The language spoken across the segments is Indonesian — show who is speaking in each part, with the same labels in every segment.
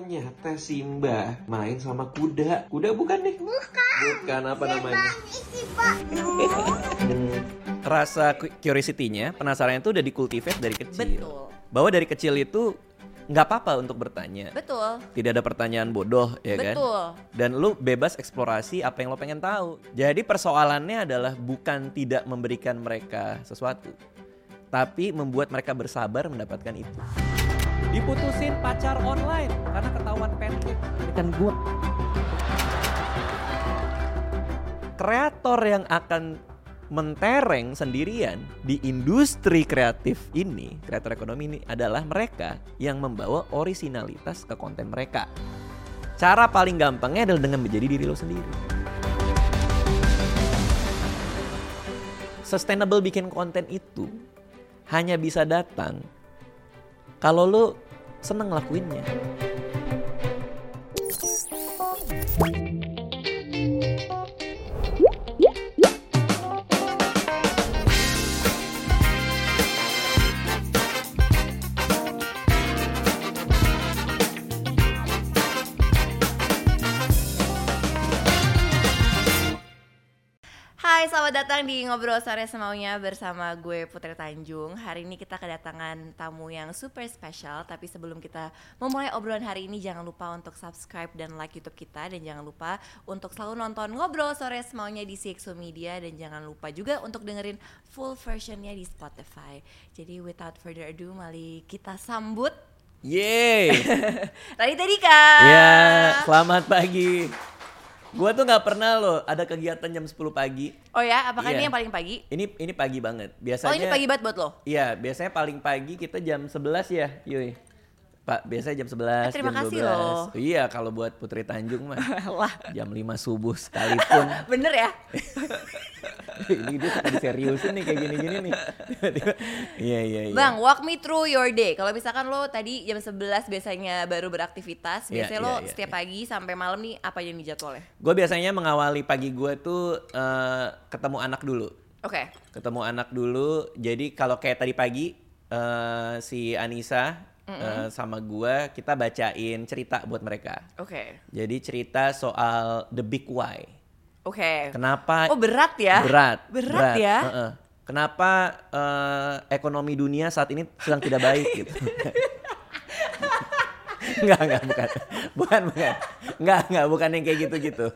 Speaker 1: Ternyata Simba main sama kuda. Kuda bukan nih? Bukan. Bukan apa namanya?
Speaker 2: Rasa cu- curiosity-nya, penasarannya itu udah dikultivate dari kecil.
Speaker 3: Betul.
Speaker 2: Bahwa dari kecil itu nggak apa-apa untuk bertanya.
Speaker 3: Betul.
Speaker 2: Tidak ada pertanyaan bodoh, ya kan?
Speaker 3: Betul.
Speaker 2: Dan lu bebas eksplorasi apa yang lo pengen tahu. Jadi persoalannya adalah bukan tidak memberikan mereka sesuatu, tapi membuat mereka bersabar mendapatkan itu.
Speaker 4: diputusin pacar online karena ketahuan pancake ikan gua
Speaker 2: kreator yang akan mentereng sendirian di industri kreatif ini, kreator ekonomi ini adalah mereka yang membawa orisinalitas ke konten mereka. Cara paling gampangnya adalah dengan menjadi diri lo sendiri. Sustainable bikin konten itu hanya bisa datang kalau lo seneng lakuinnya.
Speaker 3: Hai, selamat datang di Ngobrol Sore Semaunya bersama gue Putri Tanjung Hari ini kita kedatangan tamu yang super spesial Tapi sebelum kita memulai obrolan hari ini Jangan lupa untuk subscribe dan like Youtube kita Dan jangan lupa untuk selalu nonton Ngobrol Sore Semaunya di CXO Media Dan jangan lupa juga untuk dengerin full versionnya di Spotify Jadi without further ado, mari kita sambut
Speaker 2: Yeay!
Speaker 3: Radita Dika
Speaker 2: Ya, selamat pagi. Gua tuh nggak pernah loh ada kegiatan jam 10 pagi.
Speaker 3: Oh ya, apakah
Speaker 2: Iya.
Speaker 3: ini yang paling pagi?
Speaker 2: Ini ini pagi banget. Biasanya
Speaker 3: Oh ini pagi banget buat lo?
Speaker 2: Iya, biasanya paling pagi kita jam 11 ya, Yui. Pak, biasanya jam 11,
Speaker 3: Eh, terima
Speaker 2: jam 12.
Speaker 3: kasih loh.
Speaker 2: Iya, kalau buat Putri Tanjung mah
Speaker 3: Lah,
Speaker 2: jam 5 subuh sekalipun.
Speaker 3: bener ya?
Speaker 2: ini dia suka diseriusin nih kayak gini-gini nih. Tiba-tiba, Iya, iya, iya.
Speaker 3: Bang, walk me through your day. Kalau misalkan lo tadi jam 11 biasanya baru beraktivitas,
Speaker 2: Iya,
Speaker 3: biasanya
Speaker 2: iya,
Speaker 3: lo
Speaker 2: iya,
Speaker 3: setiap
Speaker 2: iya.
Speaker 3: pagi sampai malam nih apa yang dijadwalnya?
Speaker 2: Gue biasanya mengawali pagi gue tuh eh, ketemu anak dulu.
Speaker 3: Oke.
Speaker 2: ketemu anak dulu. Jadi kalau kayak tadi pagi eh, si Anissa eh, sama gua kita bacain cerita buat mereka.
Speaker 3: Oke.
Speaker 2: Jadi cerita soal the big why.
Speaker 3: Oke.
Speaker 2: Kenapa
Speaker 3: Oh, berat ya?
Speaker 2: berat?
Speaker 3: Berat ya?
Speaker 2: Heeh. Kenapa eh, ekonomi dunia saat ini sedang tidak baik gitu? Enggak, enggak, bukan. Bukan, bukan. Enggak, enggak, bukan yang kayak gitu-gitu.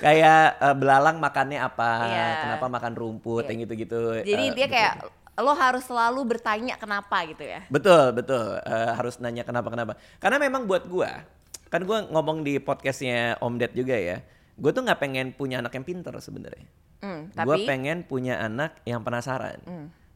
Speaker 2: Kayak eh, belalang makannya apa,
Speaker 3: Iya.
Speaker 2: kenapa makan rumput,
Speaker 3: Iya.
Speaker 2: yang gitu-gitu.
Speaker 3: Jadi
Speaker 2: eh,
Speaker 3: intinya
Speaker 2: begitu.
Speaker 3: kayak lo harus selalu bertanya kenapa gitu ya.
Speaker 2: Betul, betul. Eh, harus nanya kenapa-kenapa. Karena memang buat gua, kan gua ngomong di podcastnya Om Ded juga ya. Gue tuh nggak pengen punya anak yang pinter sebenarnya.
Speaker 3: Hmm,
Speaker 2: Gue
Speaker 3: tapi Hmm.
Speaker 2: pengen punya anak yang penasaran.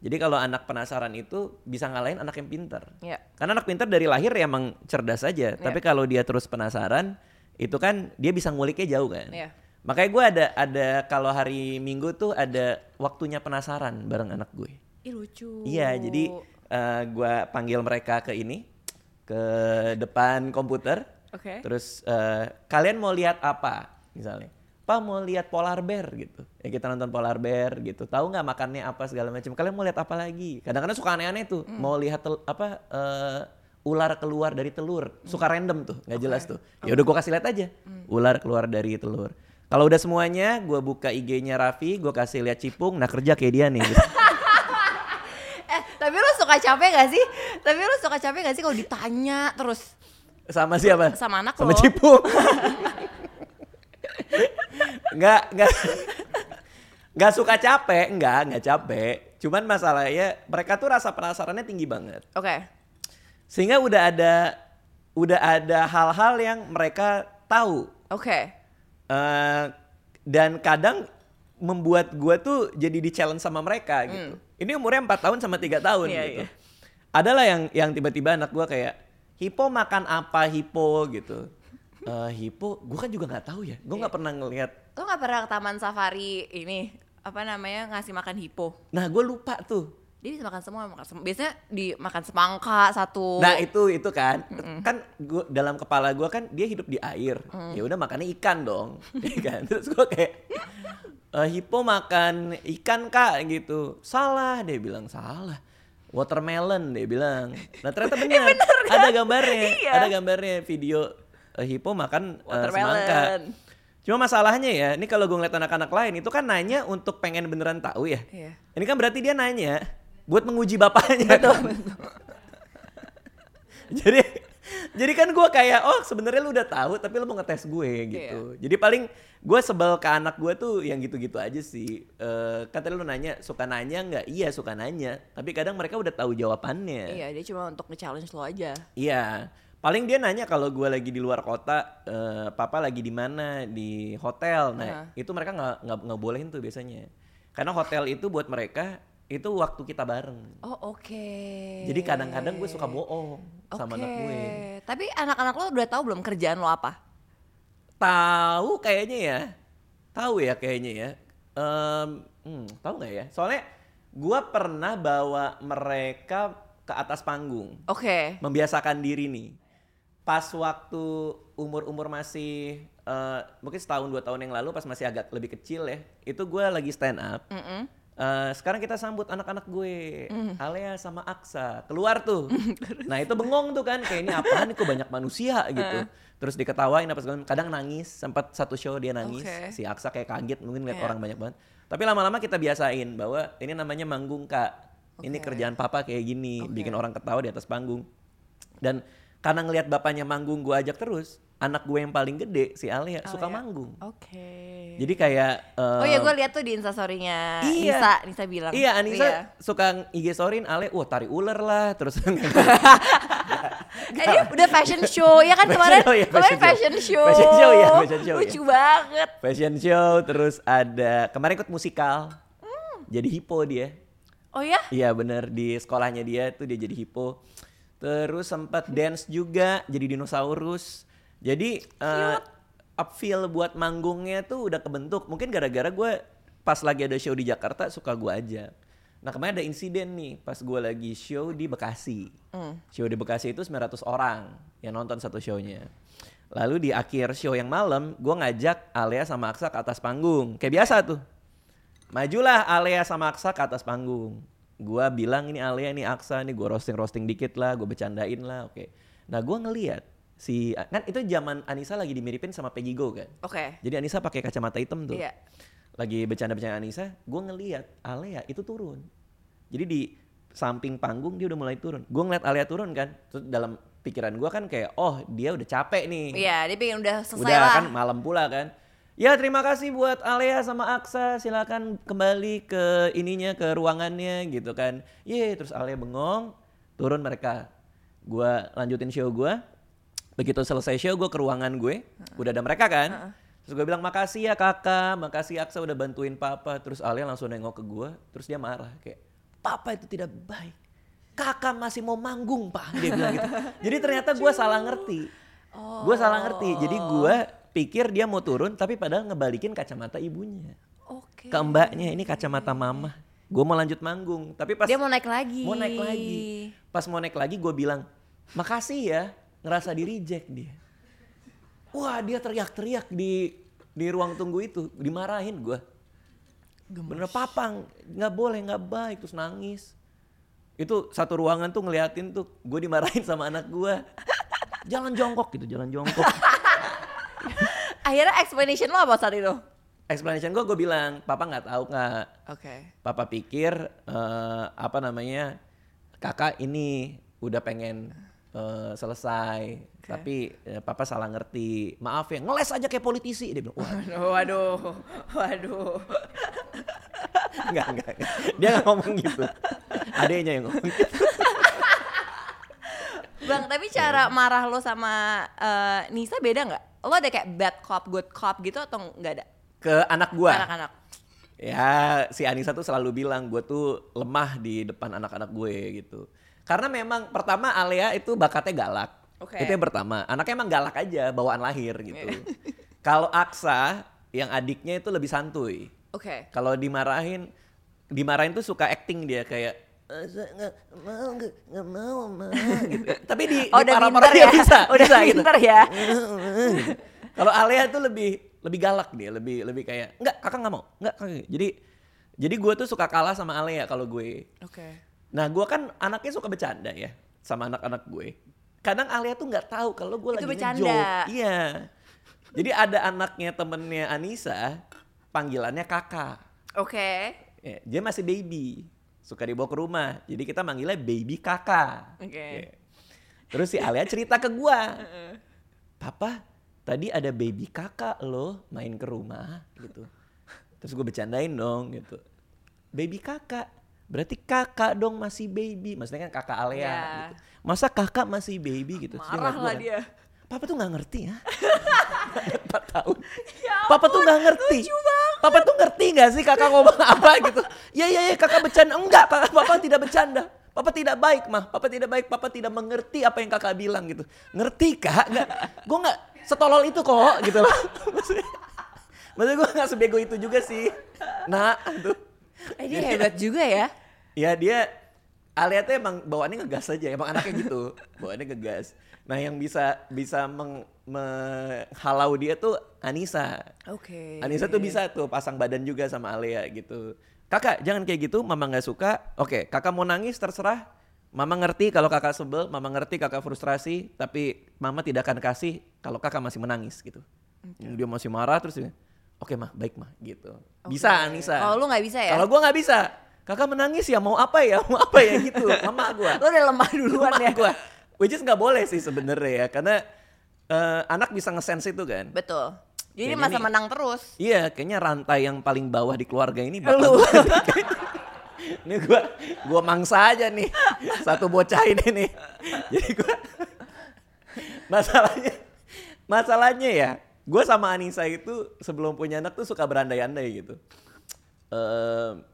Speaker 2: Jadi kalau anak penasaran itu bisa ngalahin anak yang pinter.
Speaker 3: ya.
Speaker 2: Karena anak pinter dari lahir ya emang cerdas aja.
Speaker 3: Iya.
Speaker 2: Tapi kalau dia terus penasaran, itu kan dia bisa nguliknya jauh kan.
Speaker 3: Iya.
Speaker 2: Makanya gue ada ada kalau hari Minggu tuh ada waktunya penasaran bareng anak gue.
Speaker 3: Ih lucu.
Speaker 2: Iya, jadi eh, gua panggil mereka ke ini ke depan komputer.
Speaker 3: Oke.
Speaker 2: Terus eh, kalian mau lihat apa? Misalnya, Pak mau lihat polar bear gitu. Ya kita nonton polar bear gitu. Tahu nggak makannya apa segala macam. Kalian mau lihat apa lagi? Kadang-kadang suka aneh-aneh tuh. Mau lihat tel- apa eh, ular keluar dari telur. Suka random tuh, nggak jelas tuh. Ya udah gua kasih lihat aja. Ular keluar dari telur. Kalau udah semuanya, gua buka IG-nya Raffi, gua kasih lihat Cipung. Nah kerja kayak dia nih. gitu.
Speaker 3: Eh, tapi lo suka capek gak sih? Tapi lo suka capek gak sih kalau ditanya terus?
Speaker 2: Sama siapa?
Speaker 3: Sama anak
Speaker 2: Sama
Speaker 3: lo.
Speaker 2: Cipung. Enggak, enggak. Enggak suka capek, enggak, enggak capek. Cuman masalahnya mereka tuh rasa penasarannya tinggi banget.
Speaker 3: Oke.
Speaker 2: Sehingga udah ada udah ada hal-hal yang mereka tahu.
Speaker 3: Oke.
Speaker 2: Eh, dan kadang membuat gua tuh jadi di challenge sama mereka gitu. Ini umurnya 4 tahun sama tiga tahun
Speaker 3: Hmm. Iya,
Speaker 2: gitu.
Speaker 3: iya.
Speaker 2: Adalah yang yang tiba-tiba anak gua kayak hipo makan apa hipo gitu. Eh hipo, gua kan juga nggak tahu ya. Gua
Speaker 3: Iya.
Speaker 2: nggak pernah ngelihat.
Speaker 3: Lo gak pernah ke taman safari ini apa namanya ngasih makan hipo?
Speaker 2: Nah, gue lupa tuh.
Speaker 3: Dia bisa makan semua, makan semua. Biasanya dimakan semangka satu.
Speaker 2: Nah itu itu kan kan gua dalam kepala gua kan dia hidup di air
Speaker 3: Mm.
Speaker 2: ya udah makannya ikan dong ya kan terus gua kayak "Eh, hippo makan ikan kak gitu salah dia bilang salah watermelon dia bilang nah ternyata benar ada gambarnya
Speaker 3: Eh, Iya.
Speaker 2: ada gambarnya video eh, hippo makan eh, semangka.
Speaker 3: Watermelon.
Speaker 2: Cuma masalahnya ya, ini kalau gue ngeliat anak-anak lain itu kan nanya untuk pengen beneran tahu ya.
Speaker 3: Iya.
Speaker 2: Ini kan berarti dia nanya buat menguji bapaknya. kan? jadi jadi kan gue kayak oh sebenarnya lu udah tahu tapi lu mau ngetes gue gitu jadi paling gue sebel ke anak gue tuh yang gitu-gitu aja sih Eh kata lu nanya suka nanya nggak iya suka nanya tapi kadang mereka udah tahu jawabannya
Speaker 3: Iya, dia cuma untuk nge-challenge lo aja.
Speaker 2: Iya. paling dia nanya kalau gue lagi di luar kota eh papa lagi di mana di hotel nah itu mereka nggak nggak nggak bolehin tuh biasanya karena hotel itu buat mereka itu waktu kita bareng
Speaker 3: Oh, oke.
Speaker 2: jadi kadang-kadang gue suka bohong sama anak gue
Speaker 3: Tapi anak-anak lo udah tahu belum kerjaan lo apa?
Speaker 2: tahu kayaknya ya tahu ya kayaknya ya Em, hmm, tahu nggak ya soalnya gua pernah bawa mereka ke atas panggung
Speaker 3: Oke.
Speaker 2: membiasakan diri nih pas waktu umur umur masih eh, mungkin setahun dua tahun yang lalu pas masih agak lebih kecil ya itu gua lagi stand up
Speaker 3: Mm-mm.
Speaker 2: Eh, sekarang kita sambut anak-anak gue,
Speaker 3: Mm.
Speaker 2: Alea sama Aksa keluar tuh. nah itu bengong tuh kan, kayak ini apaan? Kok banyak manusia gitu. Terus diketawain apa segala macam. Kadang nangis, sempat satu show dia nangis.
Speaker 3: Oke.
Speaker 2: Si Aksa kayak kaget mungkin lihat
Speaker 3: Iya.
Speaker 2: orang banyak banget. Tapi lama-lama kita biasain bahwa ini namanya manggung kak. Ini
Speaker 3: Oke.
Speaker 2: kerjaan papa kayak gini,
Speaker 3: Oke.
Speaker 2: bikin orang ketawa di atas panggung. Dan karena ngelihat bapaknya manggung gue ajak terus, anak gue yang paling gede si Alea, suka
Speaker 3: Alea.
Speaker 2: manggung.
Speaker 3: Oke.
Speaker 2: Jadi kayak
Speaker 3: iya. Oh ya
Speaker 2: em,
Speaker 3: gue lihat tuh di instastorynya
Speaker 2: Iya.
Speaker 3: Nisa, Nisa bilang.
Speaker 2: Iya Anissa
Speaker 3: Iya.
Speaker 2: suka IG storin Ale, wah tari ular lah terus
Speaker 3: Eh, dia udah fashion show ya kan
Speaker 2: Fashion
Speaker 3: kemarin
Speaker 2: show, iya,
Speaker 3: kemarin
Speaker 2: fashion
Speaker 3: fashion
Speaker 2: show.
Speaker 3: show.
Speaker 2: Fashion show, iya, fashion show,
Speaker 3: Lucu banget.
Speaker 2: fashion show terus ada kemarin ikut musikal
Speaker 3: Hmm.
Speaker 2: jadi hippo dia
Speaker 3: Oh ya?
Speaker 2: iya bener di sekolahnya dia tuh dia jadi hippo terus sempat dance juga jadi dinosaurus jadi eh upfeel buat manggungnya tuh udah kebentuk mungkin gara-gara gue pas lagi ada show di Jakarta suka gue aja nah kemarin ada insiden nih pas gue lagi show di Bekasi Show di Bekasi itu 900 orang yang nonton satu shownya. Lalu di akhir show yang malam, gue ngajak Alea sama Aksa ke atas panggung. Kayak biasa tuh. Majulah Alea sama Aksa ke atas panggung. Gue bilang ini Alea, ini Aksa, ini gue roasting-roasting dikit lah, gue bercandain lah, oke. Nah gue ngeliat si, kan itu zaman Anissa lagi dimiripin sama Peggy Go kan.
Speaker 3: Oke.
Speaker 2: Jadi Anissa pakai kacamata hitam tuh.
Speaker 3: Iya.
Speaker 2: Lagi bercanda-bercanda Anissa, gue ngeliat Alea itu turun. Jadi di samping panggung dia udah mulai turun. Gue ngeliat Alea turun kan. Terus dalam pikiran gue kan kayak, oh dia udah capek nih.
Speaker 3: Iya, dia pengen udah selesai
Speaker 2: udah
Speaker 3: lah.
Speaker 2: kan malam pula kan. Ya terima kasih buat Alea sama Aksa. Silakan kembali ke ininya ke ruangannya gitu kan. Ye terus Alea bengong, turun mereka. Gua lanjutin show gua. Begitu selesai show gue ke ruangan gue, udah ada mereka kan. Terus gue bilang makasih ya kakak, makasih Aksa udah bantuin papa. Terus Alea langsung nengok ke gua, terus dia marah kayak papa itu tidak baik. Kakak masih mau manggung pak, dia bilang gitu. Jadi ternyata gua salah ngerti. Gue salah ngerti, jadi
Speaker 3: Oh.
Speaker 2: gue pikir dia mau turun tapi padahal ngebalikin kacamata ibunya
Speaker 3: Oke.
Speaker 2: ke mbaknya ini kacamata mama gue mau lanjut manggung tapi pas
Speaker 3: Dia mau naik lagi.
Speaker 2: mau naik lagi pas mau naik lagi gue bilang makasih ya ngerasa di reject dia wah dia teriak-teriak di di ruang tunggu itu dimarahin gue bener papang nggak boleh nggak baik terus nangis itu satu ruangan tuh ngeliatin tuh gue dimarahin sama anak gue jalan jongkok gitu jalan jongkok
Speaker 3: Akhirnya explanation lo apa saat itu?
Speaker 2: explanation gue gue bilang papa nggak tahu nggak
Speaker 3: Oke.
Speaker 2: papa pikir eh, apa namanya kakak ini udah pengen eh, selesai tapi eh, papa salah ngerti maaf ya ngeles aja kayak politisi dia bilang wah
Speaker 3: Waduh, waduh.
Speaker 2: enggak enggak, enggak. dia nggak ngomong gitu adanya yang ngomong gitu.
Speaker 3: Bang, tapi
Speaker 2: Iya.
Speaker 3: cara marah lo sama eh, Nisa beda nggak? Lo ada kayak bad cop, good cop gitu atau nggak ada?
Speaker 2: ke anak gua
Speaker 3: Anak-anak.
Speaker 2: Ya, si Anissa tuh selalu bilang gue tuh lemah di depan anak-anak gue gitu. Karena memang pertama Alea itu bakatnya galak.
Speaker 3: Oke. Iya.
Speaker 2: Itu yang pertama. Anaknya emang galak aja, bawaan lahir gitu. Kalau Aksa, yang adiknya itu lebih santuy.
Speaker 3: Oke.
Speaker 2: Kalau dimarahin, dimarahin tuh suka acting dia kayak "Eh, saya nggak mau nggak nggak mau Ma," gitu. Tapi di,
Speaker 3: Oh,
Speaker 2: di
Speaker 3: udah
Speaker 2: parah-parah
Speaker 3: pinter
Speaker 2: dia
Speaker 3: ya.
Speaker 2: bisa,
Speaker 3: udah
Speaker 2: bisa gitu.
Speaker 3: pinter ya.
Speaker 2: Kalau Alea tuh lebih lebih galak dia, lebih lebih kayak enggak kakak nggak mau, enggak kakak. Jadi jadi gue tuh suka kalah sama Alea kalau gue.
Speaker 3: Oke.
Speaker 2: Nah gue kan anaknya suka bercanda ya sama anak-anak gue. kadang Alia tuh nggak tahu kalau gue
Speaker 3: Itu
Speaker 2: lagi
Speaker 3: bercanda.
Speaker 2: ngejoke. Iya. Jadi ada anaknya temennya Anissa, panggilannya kakak.
Speaker 3: Oke.
Speaker 2: Ya, dia masih baby, suka dibawa ke rumah. Jadi kita manggilnya baby kakak.
Speaker 3: Oke.
Speaker 2: Ya. Terus si Alia cerita ke gua. Papa, tadi ada baby kakak loh main ke rumah gitu. Terus gue bercandain dong gitu. Baby kakak, berarti kakak dong masih baby. Maksudnya kan kakak Alia
Speaker 3: Ya.
Speaker 2: gitu. Masa kakak masih baby gitu. Terus dia
Speaker 3: Marah
Speaker 2: ngeliat gua
Speaker 3: lah
Speaker 2: kan,
Speaker 3: dia.
Speaker 2: Papa tuh nggak ngerti ya. Ada Empat tahun. Papa tuh nggak ngerti. Papa tuh ngerti nggak sih kakak ngomong apa gitu? Ya ya ya kakak bercanda. Enggak kakak papa tidak bercanda. Papa tidak baik mah. Papa tidak baik. Papa tidak mengerti apa yang kakak bilang gitu. Ngerti kak? Nggak. Gue nggak setolol itu kok gitu loh. Maksudnya, maksudnya gue nggak sebego itu juga sih. Nah, tuh.
Speaker 3: Eh dia hebat juga ya.
Speaker 2: Ya dia Alia tuh emang bawaannya ngegas aja, emang anaknya gitu, bawaannya ngegas. Nah yang bisa bisa meng- menghalau dia tuh Anissa.
Speaker 3: Oke.
Speaker 2: Anissa tuh bisa tuh pasang badan juga sama Alia gitu. Kakak jangan kayak gitu, mama nggak suka. Oke, kakak mau nangis terserah. Mama ngerti kalau kakak sebel, mama ngerti kakak frustrasi, tapi mama tidak akan kasih kalau kakak masih menangis gitu. Dia masih marah terus dia, oke mah baik mah gitu. Bisa
Speaker 3: Oke.
Speaker 2: Anissa.
Speaker 3: Kalau lu nggak bisa ya?
Speaker 2: Kalau gua nggak bisa. Kakak menangis ya mau apa ya mau apa ya gitu. Mama gua.
Speaker 3: Lu udah lemah duluan
Speaker 2: Mama
Speaker 3: ya.
Speaker 2: gua. Which is nggak boleh sih sebenarnya ya karena eh, anak bisa ngesense itu kan.
Speaker 3: Betul. Ya, Jadi
Speaker 2: Kayaknya
Speaker 3: masa
Speaker 2: nih-
Speaker 3: menang terus.
Speaker 2: Iya, kayaknya rantai yang paling bawah di keluarga ini bakal
Speaker 3: Lu.
Speaker 2: ini gua gua mangsa aja nih. Satu bocah ini nih. Jadi gua masalahnya masalahnya ya, gua sama Anissa itu sebelum punya anak tuh suka berandai-andai gitu. Ehm,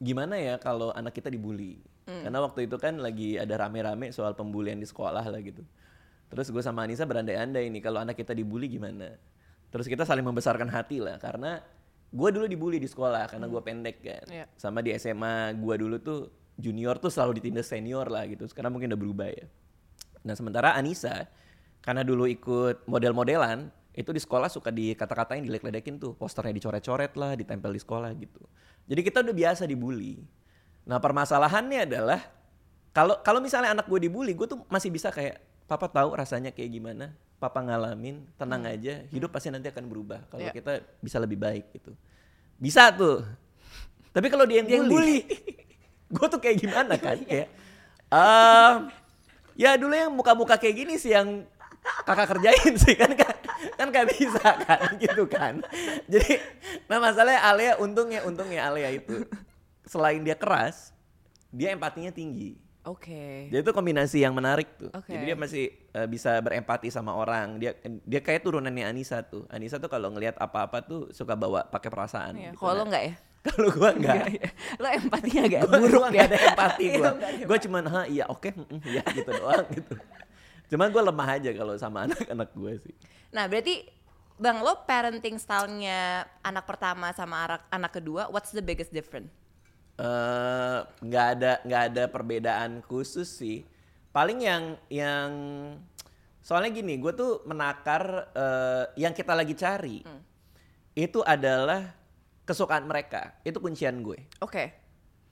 Speaker 2: gimana ya kalau anak kita dibully? Karena waktu itu kan lagi ada rame-rame soal pembulian di sekolah lah gitu. Terus gue sama Anissa berandai-andai ini kalau anak kita dibully gimana? Terus kita saling membesarkan hati lah karena gue dulu dibully di sekolah karena gue pendek kan.
Speaker 3: Iya.
Speaker 2: Sama di SMA gue dulu tuh junior tuh selalu ditindas senior lah gitu. Sekarang mungkin udah berubah ya. Nah sementara Anissa karena dulu ikut model-modelan itu di sekolah suka dikata-katain diledek-ledekin tuh posternya dicoret-coret lah ditempel di sekolah gitu. Jadi kita udah biasa dibully. Nah permasalahannya adalah kalau kalau misalnya anak gue dibully gue tuh masih bisa kayak papa tahu rasanya kayak gimana papa ngalamin tenang aja hidup pasti nanti akan berubah kalau
Speaker 3: Iya.
Speaker 2: kita bisa lebih baik gitu bisa tuh tapi kalau dia yang
Speaker 3: Dia yang
Speaker 2: bully, gue tuh kayak gimana kan? Kayak, ehm, ya dulu yang muka-muka kayak gini sih yang kakak kerjain sih kan kan kan gak bisa kan gitu kan. Jadi, nah masalahnya Alea untungnya untungnya Alea itu selain dia keras, dia empatinya tinggi.
Speaker 3: Oke.
Speaker 2: Jadi itu kombinasi yang menarik tuh.
Speaker 3: Iya. Oke.
Speaker 2: Jadi dia masih eh, bisa berempati sama orang. Dia dia kayak turunannya Anissa tuh. Anissa tuh kalau ngelihat apa-apa tuh suka bawa pakai perasaan.
Speaker 3: Iya,
Speaker 2: gitu.
Speaker 3: Kalau
Speaker 2: Nah,
Speaker 3: lu nggak Iya, ya?
Speaker 2: kalau gua enggak.
Speaker 3: Lo empatinya agak
Speaker 2: Gua
Speaker 3: buruk
Speaker 2: gua
Speaker 3: ya.
Speaker 2: nggak ada empati
Speaker 3: Iya,
Speaker 2: gua.
Speaker 3: nggak ada
Speaker 2: Gua cuman ha iya oke mm, mm, iya gitu doang gitu. Cuman gua lemah aja kalau sama anak-anak gua sih.
Speaker 3: Nah berarti Bang lo parenting stylenya anak pertama sama anak, anak kedua, what's the biggest difference?
Speaker 2: Eh, nggak ada nggak ada perbedaan khusus sih. Paling yang yang soalnya gini, gue tuh menakar eh, yang kita lagi cari
Speaker 3: Hmm.
Speaker 2: itu adalah kesukaan mereka. Itu kuncian gue.
Speaker 3: Oke.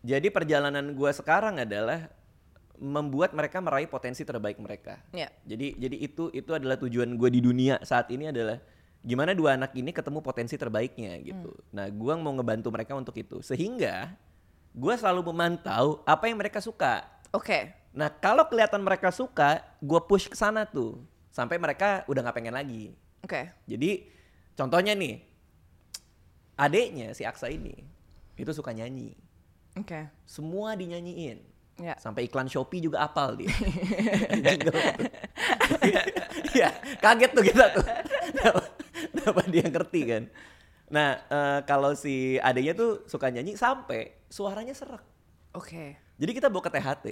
Speaker 2: Jadi perjalanan gue sekarang adalah membuat mereka meraih potensi terbaik mereka.
Speaker 3: Ya.
Speaker 2: Jadi jadi itu itu adalah tujuan gue di dunia saat ini adalah gimana dua anak ini ketemu potensi terbaiknya gitu. Nah gue mau ngebantu mereka untuk itu sehingga gue selalu memantau apa yang mereka suka.
Speaker 3: Oke.
Speaker 2: Nah kalau kelihatan mereka suka, gue push ke sana tuh sampai mereka udah nggak pengen lagi.
Speaker 3: Oke.
Speaker 2: Jadi contohnya nih adeknya si Aksa ini itu suka nyanyi,
Speaker 3: Oke.
Speaker 2: semua dinyanyiin.
Speaker 3: Ya.
Speaker 2: Sampai iklan Shopee juga apal dia. Jingle tuh. Iya, kaget tuh kita tuh. Kenapa, kenapa dia ngerti kan? Nah, eh, kalau si adanya tuh suka nyanyi sampai suaranya serak.
Speaker 3: Oke.
Speaker 2: Jadi kita bawa ke THT.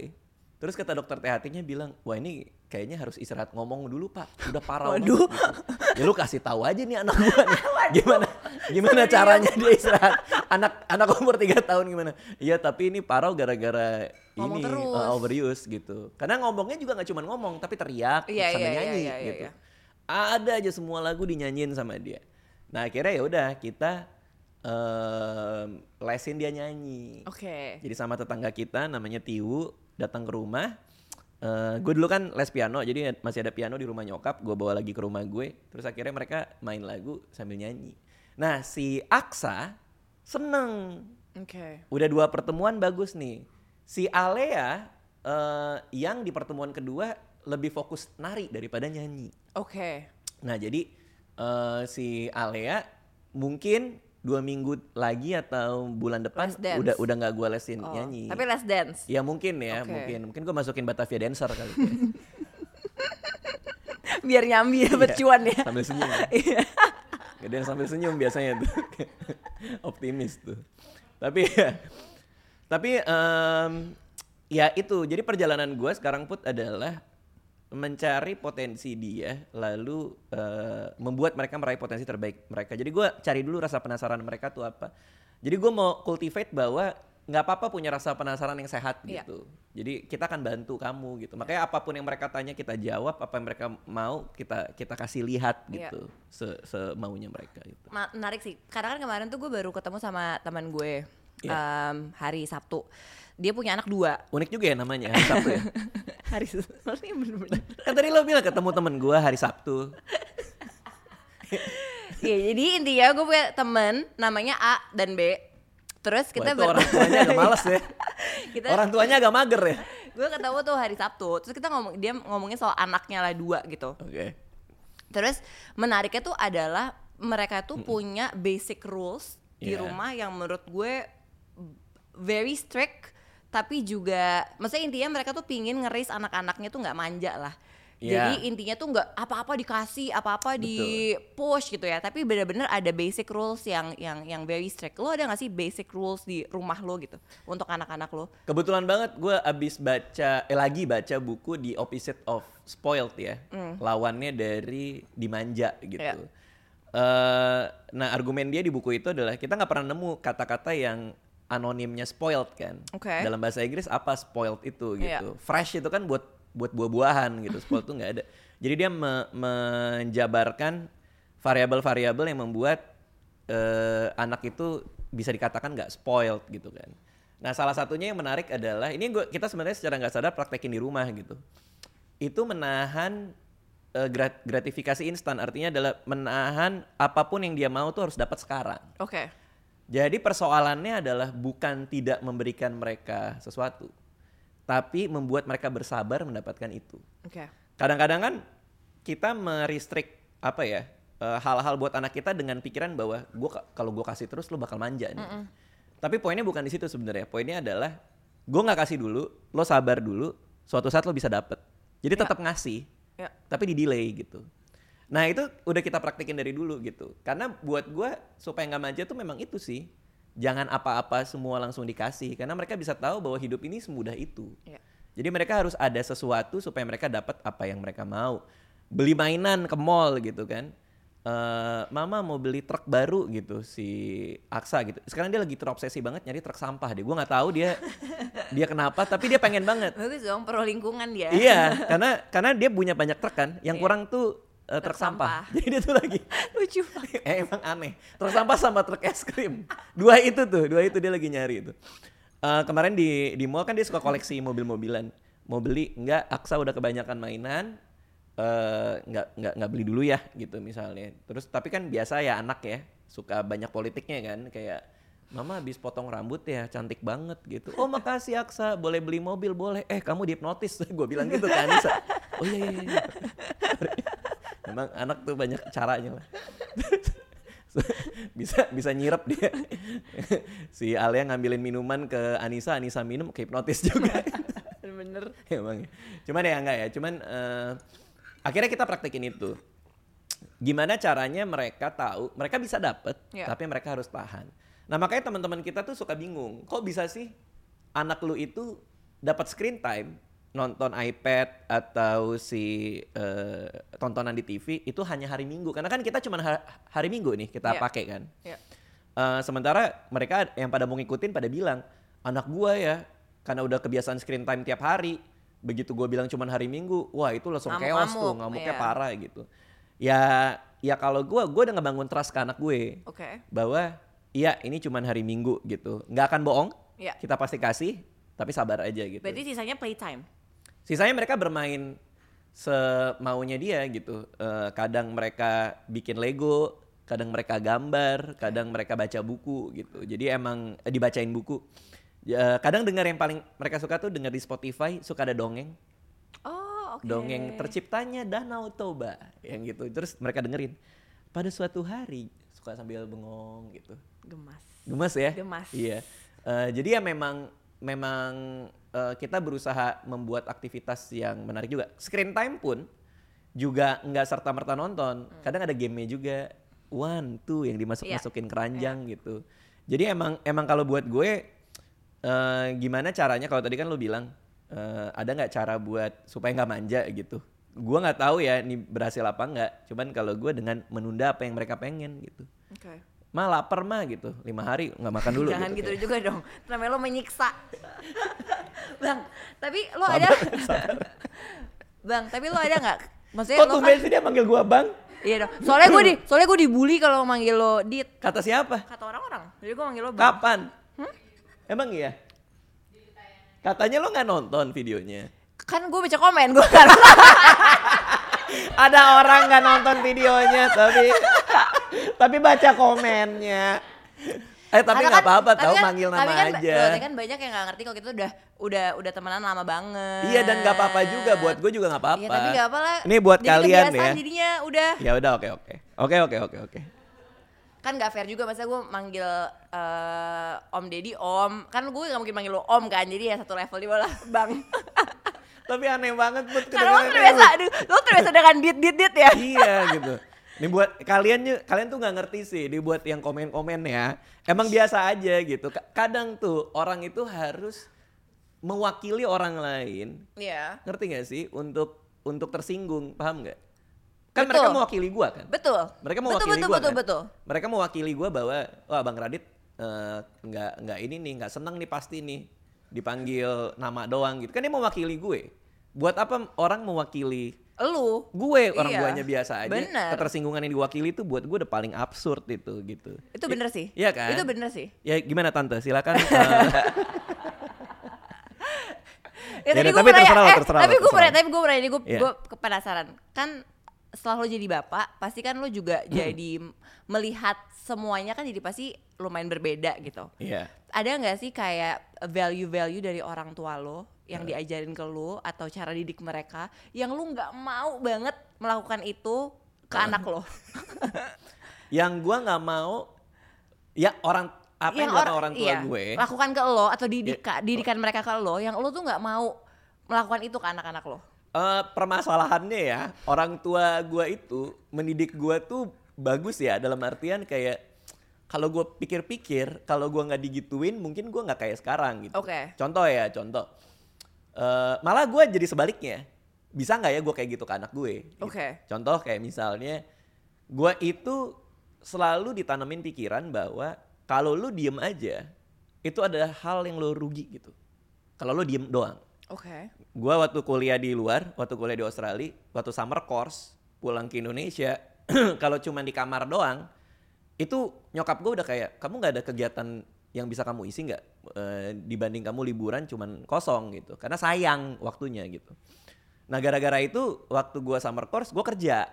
Speaker 2: Terus kata dokter THT-nya bilang, wah ini kayaknya harus istirahat ngomong dulu pak, udah parah banget."
Speaker 3: Waduh.
Speaker 2: Gitu. Ya lu kasih tahu aja nih anak gua nih. Gimana gimana caranya dia istirahat? Anak anak umur 3 tahun gimana? Iya tapi ini parau gara-gara
Speaker 3: Ngomong
Speaker 2: ini
Speaker 3: terus.
Speaker 2: uh, overuse gitu. Karena ngomongnya juga nggak cuma ngomong tapi teriak sambil
Speaker 3: Iya, iya, iya,
Speaker 2: nyanyi
Speaker 3: iya, iya,
Speaker 2: gitu.
Speaker 3: iya.
Speaker 2: Ada aja semua lagu dinyanyiin sama dia. Nah akhirnya ya udah kita em, lesin dia nyanyi.
Speaker 3: Oke.
Speaker 2: Jadi sama tetangga kita namanya Tiu datang ke rumah gue dulu kan les piano, jadi masih ada piano di rumah nyokap. Gue bawa lagi ke rumah gue. Terus akhirnya mereka main lagu sambil nyanyi. Nah si Aksa seneng.
Speaker 3: Oke.
Speaker 2: Udah dua pertemuan bagus nih. Si Alea eh, yang di pertemuan kedua lebih fokus nari daripada nyanyi.
Speaker 3: Oke.
Speaker 2: Nah jadi eh, si Alea mungkin dua minggu lagi atau bulan depan
Speaker 3: Les dance.
Speaker 2: udah udah nggak gue lesin
Speaker 3: Oh,
Speaker 2: nyanyi.
Speaker 3: Tapi less dance.
Speaker 2: Ya mungkin ya,
Speaker 3: Oke.
Speaker 2: mungkin mungkin gue masukin Batavia dancer kali. ya.
Speaker 3: Biar nyambi dapat cuan ya.
Speaker 2: sambil senyum.
Speaker 3: Iya.
Speaker 2: Gedean sambil senyum biasanya tuh. Optimis tuh. Tapi ya, tapi em, ya itu. Jadi perjalanan gue sekarang put adalah mencari potensi dia, lalu eh, membuat mereka meraih potensi terbaik mereka. Jadi gue cari dulu rasa penasaran mereka tuh apa. Jadi gue mau cultivate bahwa nggak apa-apa punya rasa penasaran yang sehat
Speaker 3: Iya.
Speaker 2: gitu. Jadi kita akan bantu kamu gitu. Makanya apapun yang mereka tanya kita jawab, apa yang mereka mau kita kita kasih lihat
Speaker 3: Iya.
Speaker 2: gitu. Se semaunya mereka gitu.
Speaker 3: Ma- menarik sih karena kan kemarin tuh gue baru ketemu sama teman gue
Speaker 2: Iya.
Speaker 3: em, hari Sabtu dia punya anak dua
Speaker 2: Unik juga ya namanya hari Sabtu ya.
Speaker 3: hari sebenarnya bener-bener
Speaker 2: Kan tadi lo bilang ketemu temen gua hari Sabtu.
Speaker 3: Iya, jadi intinya gue punya temen namanya A dan B terus
Speaker 2: Kita
Speaker 3: kita
Speaker 2: itu orang tuanya agak males ya.
Speaker 3: Kita-
Speaker 2: Orang tuanya agak mager ya.
Speaker 3: gue ketemu tuh hari Sabtu terus kita ngomong dia ngomongin soal anaknya lah dua gitu
Speaker 2: Oke.
Speaker 3: Terus menariknya tuh adalah mereka tuh punya basic rules di
Speaker 2: Iya.
Speaker 3: rumah yang menurut gue very strict tapi juga maksudnya intinya mereka tuh pingin ngeris anak-anaknya tuh nggak manja lah.
Speaker 2: Iya.
Speaker 3: Jadi intinya tuh nggak apa-apa dikasih, apa-apa di push gitu ya. Tapi bener-bener ada basic rules yang yang yang very strict. Lo ada nggak sih basic rules di rumah lo gitu untuk anak-anak lo?
Speaker 2: Kebetulan banget gue abis baca, eh lagi baca buku di Opposite of Spoiled ya.
Speaker 3: Hmm.
Speaker 2: Lawannya dari Dimanja gitu.
Speaker 3: Iya.
Speaker 2: Eh, nah argumen dia di buku itu adalah kita nggak pernah nemu kata-kata yang anonimnya spoiled kan.
Speaker 3: Oke.
Speaker 2: Dalam bahasa Inggris apa spoiled itu gitu.
Speaker 3: Iya.
Speaker 2: Fresh itu kan buat buat buah-buahan gitu. Spoiled tuh nggak ada. Jadi dia me- menjabarkan variabel-variabel yang membuat eh, anak itu bisa dikatakan nggak spoiled gitu kan. Nah salah satunya yang menarik adalah ini gua, kita sebenarnya secara nggak sadar praktekin di rumah gitu. Itu menahan eh, grat- gratifikasi instan artinya adalah menahan apapun yang dia mau tuh harus dapat sekarang.
Speaker 3: Oke.
Speaker 2: Jadi persoalannya adalah bukan tidak memberikan mereka sesuatu, tapi membuat mereka bersabar mendapatkan itu
Speaker 3: Oke.
Speaker 2: kadang-kadang kan kita meristrik apa ya eh, hal-hal buat anak kita dengan pikiran bahwa gua ka- kalau gue kasih terus lu bakal manja nih. Tapi poinnya bukan di situ sebenarnya. Poinnya adalah gue nggak kasih dulu, lo sabar dulu. Suatu saat lo bisa dapet. Jadi tetap ngasih,
Speaker 3: Ya.
Speaker 2: tapi di delay gitu. Nah itu udah kita praktekin dari dulu gitu. Karena buat gue supaya nggak manja tuh memang itu sih. Jangan apa-apa semua langsung dikasih. Karena mereka bisa tahu bahwa hidup ini semudah itu.
Speaker 3: Iya.
Speaker 2: Jadi mereka harus ada sesuatu supaya mereka dapat apa yang mereka mau. Beli mainan ke mall gitu kan. Eh, mama mau beli truk baru gitu si Aksa gitu. Sekarang dia lagi terobsesi banget nyari truk sampah deh. Gua nggak tahu dia dia kenapa tapi dia pengen banget.
Speaker 3: Bagus dong pro lingkungan ya.
Speaker 2: iya, karena karena dia punya banyak truk kan. Yang
Speaker 3: Iya.
Speaker 2: kurang tuh eh, truk,
Speaker 3: Truk
Speaker 2: sampah.
Speaker 3: sampah.
Speaker 2: Jadi dia tuh lagi
Speaker 3: Lucu banget.
Speaker 2: Eh, emang aneh. Truk sampah sama truk es krim. Dua itu tuh, dua itu dia lagi nyari itu. Eh, kemarin di di mall kan dia suka koleksi mobil-mobilan. Mau beli enggak Aksa udah kebanyakan mainan. Eh, enggak enggak enggak beli dulu ya gitu misalnya. Terus tapi kan biasa ya anak ya suka banyak politiknya kan kayak Mama habis potong rambut ya, cantik banget gitu. Oh makasih Aksa, boleh beli mobil, boleh. Eh kamu dihipnotis, gue bilang gitu kan. Sa. Oh iya iya iya. Emang anak tuh banyak caranya lah. bisa bisa nyirep dia. si Alia ngambilin minuman ke Anissa, Anissa minum ke hipnotis juga.
Speaker 3: Bener.
Speaker 2: Emang. ya. Cuman ya enggak ya, cuman eh, akhirnya kita praktekin itu. Gimana caranya mereka tahu, mereka bisa dapet,
Speaker 3: Ya.
Speaker 2: tapi mereka harus tahan. Nah makanya teman-teman kita tuh suka bingung, kok bisa sih anak lu itu dapat screen time, nonton iPad atau si eh, tontonan di TV itu hanya hari Minggu. Karena kan kita cuma ha- hari Minggu nih kita
Speaker 3: Ya.
Speaker 2: pakai kan.
Speaker 3: Ya.
Speaker 2: Eh, sementara mereka yang pada mau ngikutin pada bilang, anak gua ya, karena udah kebiasaan screen time tiap hari, begitu gua bilang cuman hari Minggu, wah itu langsung chaos tuh,
Speaker 3: Ngamuk-ngamuk,
Speaker 2: ngamuknya
Speaker 3: iya.
Speaker 2: parah gitu. Ya, ya kalau gua, gua udah ngebangun trust ke anak gue
Speaker 3: Oke.
Speaker 2: bahwa iya ini cuman hari Minggu gitu, nggak akan bohong,
Speaker 3: Iya.
Speaker 2: kita pasti kasih, tapi sabar aja gitu.
Speaker 3: Berarti sisanya playtime.
Speaker 2: Sisanya mereka bermain semaunya dia gitu. Eh, kadang mereka bikin Lego, kadang mereka gambar, kadang mereka baca buku gitu. Jadi emang eh, dibacain buku. Ya, kadang dengar yang paling mereka suka tuh dengar di Spotify suka ada dongeng,
Speaker 3: Oh, oke.
Speaker 2: dongeng terciptanya Danau Toba yang gitu. Terus mereka dengerin. Pada suatu hari suka sambil bengong gitu.
Speaker 3: Gemas.
Speaker 2: Gemas ya?
Speaker 3: Gemas.
Speaker 2: Iya. Eh, jadi ya memang memang eh, kita berusaha membuat aktivitas yang menarik juga. Screen time pun juga nggak serta merta nonton. Kadang ada gamenya juga one two yang dimasuk masukin keranjang gitu. Jadi emang emang kalau buat gue eh, gimana caranya kalau tadi kan lu bilang eh, ada nggak cara buat supaya nggak manja gitu. Gue nggak tahu ya ini berhasil apa nggak. Cuman kalau gue dengan menunda apa yang mereka pengen gitu
Speaker 3: Oke.
Speaker 2: mah lapar mah gitu lima hari nggak makan dulu
Speaker 3: Jangan gitu,
Speaker 2: kayak.
Speaker 3: juga dong. Namanya lo menyiksa. Bang, tapi lo
Speaker 2: Sabar,
Speaker 3: ada
Speaker 2: sabar.
Speaker 3: Bang, tapi lo ada nggak? Maksudnya
Speaker 2: kok
Speaker 3: lo
Speaker 2: tumben
Speaker 3: kan-
Speaker 2: sih dia manggil gua bang
Speaker 3: Iya dong. Soalnya gue di soalnya gue dibully kalau manggil lo Dit.
Speaker 2: kata siapa
Speaker 3: Kata orang-orang. Jadi gue manggil lo Bang.
Speaker 2: kapan emang iya katanya lo nggak nonton videonya
Speaker 3: Kan gue baca komen, gue kan.
Speaker 2: ada orang nggak nonton videonya tapi tapi baca komennya eh tapi
Speaker 3: Karena
Speaker 2: nggak
Speaker 3: kan-
Speaker 2: apa-apa
Speaker 3: tapi
Speaker 2: tahu
Speaker 3: kan-
Speaker 2: manggil nama
Speaker 3: tapi kan,
Speaker 2: aja
Speaker 3: Tapi kan banyak yang nggak ngerti kalau kita udah udah udah temenan lama banget.
Speaker 2: iya dan nggak apa-apa juga buat gue juga nggak apa-apa
Speaker 3: Iya, tapi nggak apa lah.
Speaker 2: ini buat
Speaker 3: Jadi
Speaker 2: kalian ya
Speaker 3: kebiasaan Jadinya udah
Speaker 2: ya udah oke oke oke oke oke oke
Speaker 3: kan nggak fair juga masa gue manggil eh, Om Deddy Om. Kan gue nggak mungkin manggil lo Om kan. Jadi ya satu level di bawah lah, Bang.
Speaker 2: tapi aneh banget buat ya,
Speaker 3: Karena lo
Speaker 2: kedengarannya.
Speaker 3: terbiasa, aduh, lo terbiasa dengan dit dit dit ya.
Speaker 2: iya gitu. Ini buat kalian ju- kalian tuh nggak ngerti sih dibuat yang komen-komen ya. Emang biasa aja gitu. Ka- Kadang tuh orang itu harus mewakili orang lain.
Speaker 3: Iya.
Speaker 2: Ngerti nggak sih untuk untuk tersinggung, paham nggak? Kan mereka
Speaker 3: Betul.
Speaker 2: mewakili gua kan?
Speaker 3: Betul.
Speaker 2: Mereka
Speaker 3: betul,
Speaker 2: mewakili
Speaker 3: betul,
Speaker 2: gua
Speaker 3: betul,
Speaker 2: kan?
Speaker 3: betul.
Speaker 2: Mereka mewakili gua bahwa wah Bang Radit eh, nggak nggak ini nih, nggak seneng nih pasti nih dipanggil nama doang gitu. Kan dia mewakili gue. Buat apa orang mewakili
Speaker 3: Lu
Speaker 2: gue orang
Speaker 3: Iya.
Speaker 2: guanya biasa aja
Speaker 3: Bener.
Speaker 2: ketersinggungan yang diwakili itu buat gue udah paling absurd itu gitu
Speaker 3: itu bener sih.
Speaker 2: iya kan
Speaker 3: Itu bener sih.
Speaker 2: ya gimana tante silakan eh,
Speaker 3: Ya,
Speaker 2: Yaudah,
Speaker 3: tadi gue
Speaker 2: Iya, tapi
Speaker 3: mau nanya,
Speaker 2: terserah lo,
Speaker 3: eh,
Speaker 2: terserah lo,
Speaker 3: tapi gue mau
Speaker 2: terserah
Speaker 3: nanya, tapi gue mau nanya, gue
Speaker 2: Iya.
Speaker 3: gue kepenasaran. Kan setelah lo jadi bapak, pasti kan lo juga
Speaker 2: Hmm.
Speaker 3: jadi m- melihat semuanya kan jadi pasti lumayan berbeda gitu.
Speaker 2: iya
Speaker 3: Ada nggak sih kayak value-value dari orang tua lo yang diajarin ke lo atau cara didik mereka yang lo nggak mau banget melakukan itu ke anak lo?
Speaker 2: yang gue nggak mau ya orang apa yang,
Speaker 3: or-
Speaker 2: dilakukan orang tua
Speaker 3: iya,
Speaker 2: gue Ya, oh.
Speaker 3: lakukan ke lo atau didika, didikan mereka ke lo yang lo tuh nggak mau melakukan itu ke anak-anak lo.
Speaker 2: Eh, permasalahannya ya orang tua gue itu mendidik gue tuh bagus ya dalam artian kayak kalau gue pikir-pikir kalau gue nggak digituin mungkin gue nggak kayak sekarang gitu.
Speaker 3: Oke.
Speaker 2: Contoh ya contoh. Eh, malah gue jadi sebaliknya. Bisa nggak ya gue kayak gitu ke anak gue? gitu.
Speaker 3: Oke.
Speaker 2: Contoh kayak misalnya gue itu selalu ditanamin pikiran bahwa kalau lu diem aja itu ada hal yang lu rugi gitu. Kalau lu diem doang
Speaker 3: Oke.
Speaker 2: gua waktu kuliah di luar, waktu kuliah di Australia, waktu summer course, pulang ke Indonesia, kalau cuman di kamar doang, itu nyokap gue udah kayak, kamu nggak ada kegiatan yang bisa kamu isi nggak Eh, dibanding kamu liburan cuman kosong gitu, karena sayang waktunya gitu. Nah gara-gara itu waktu gua summer course, gua kerja,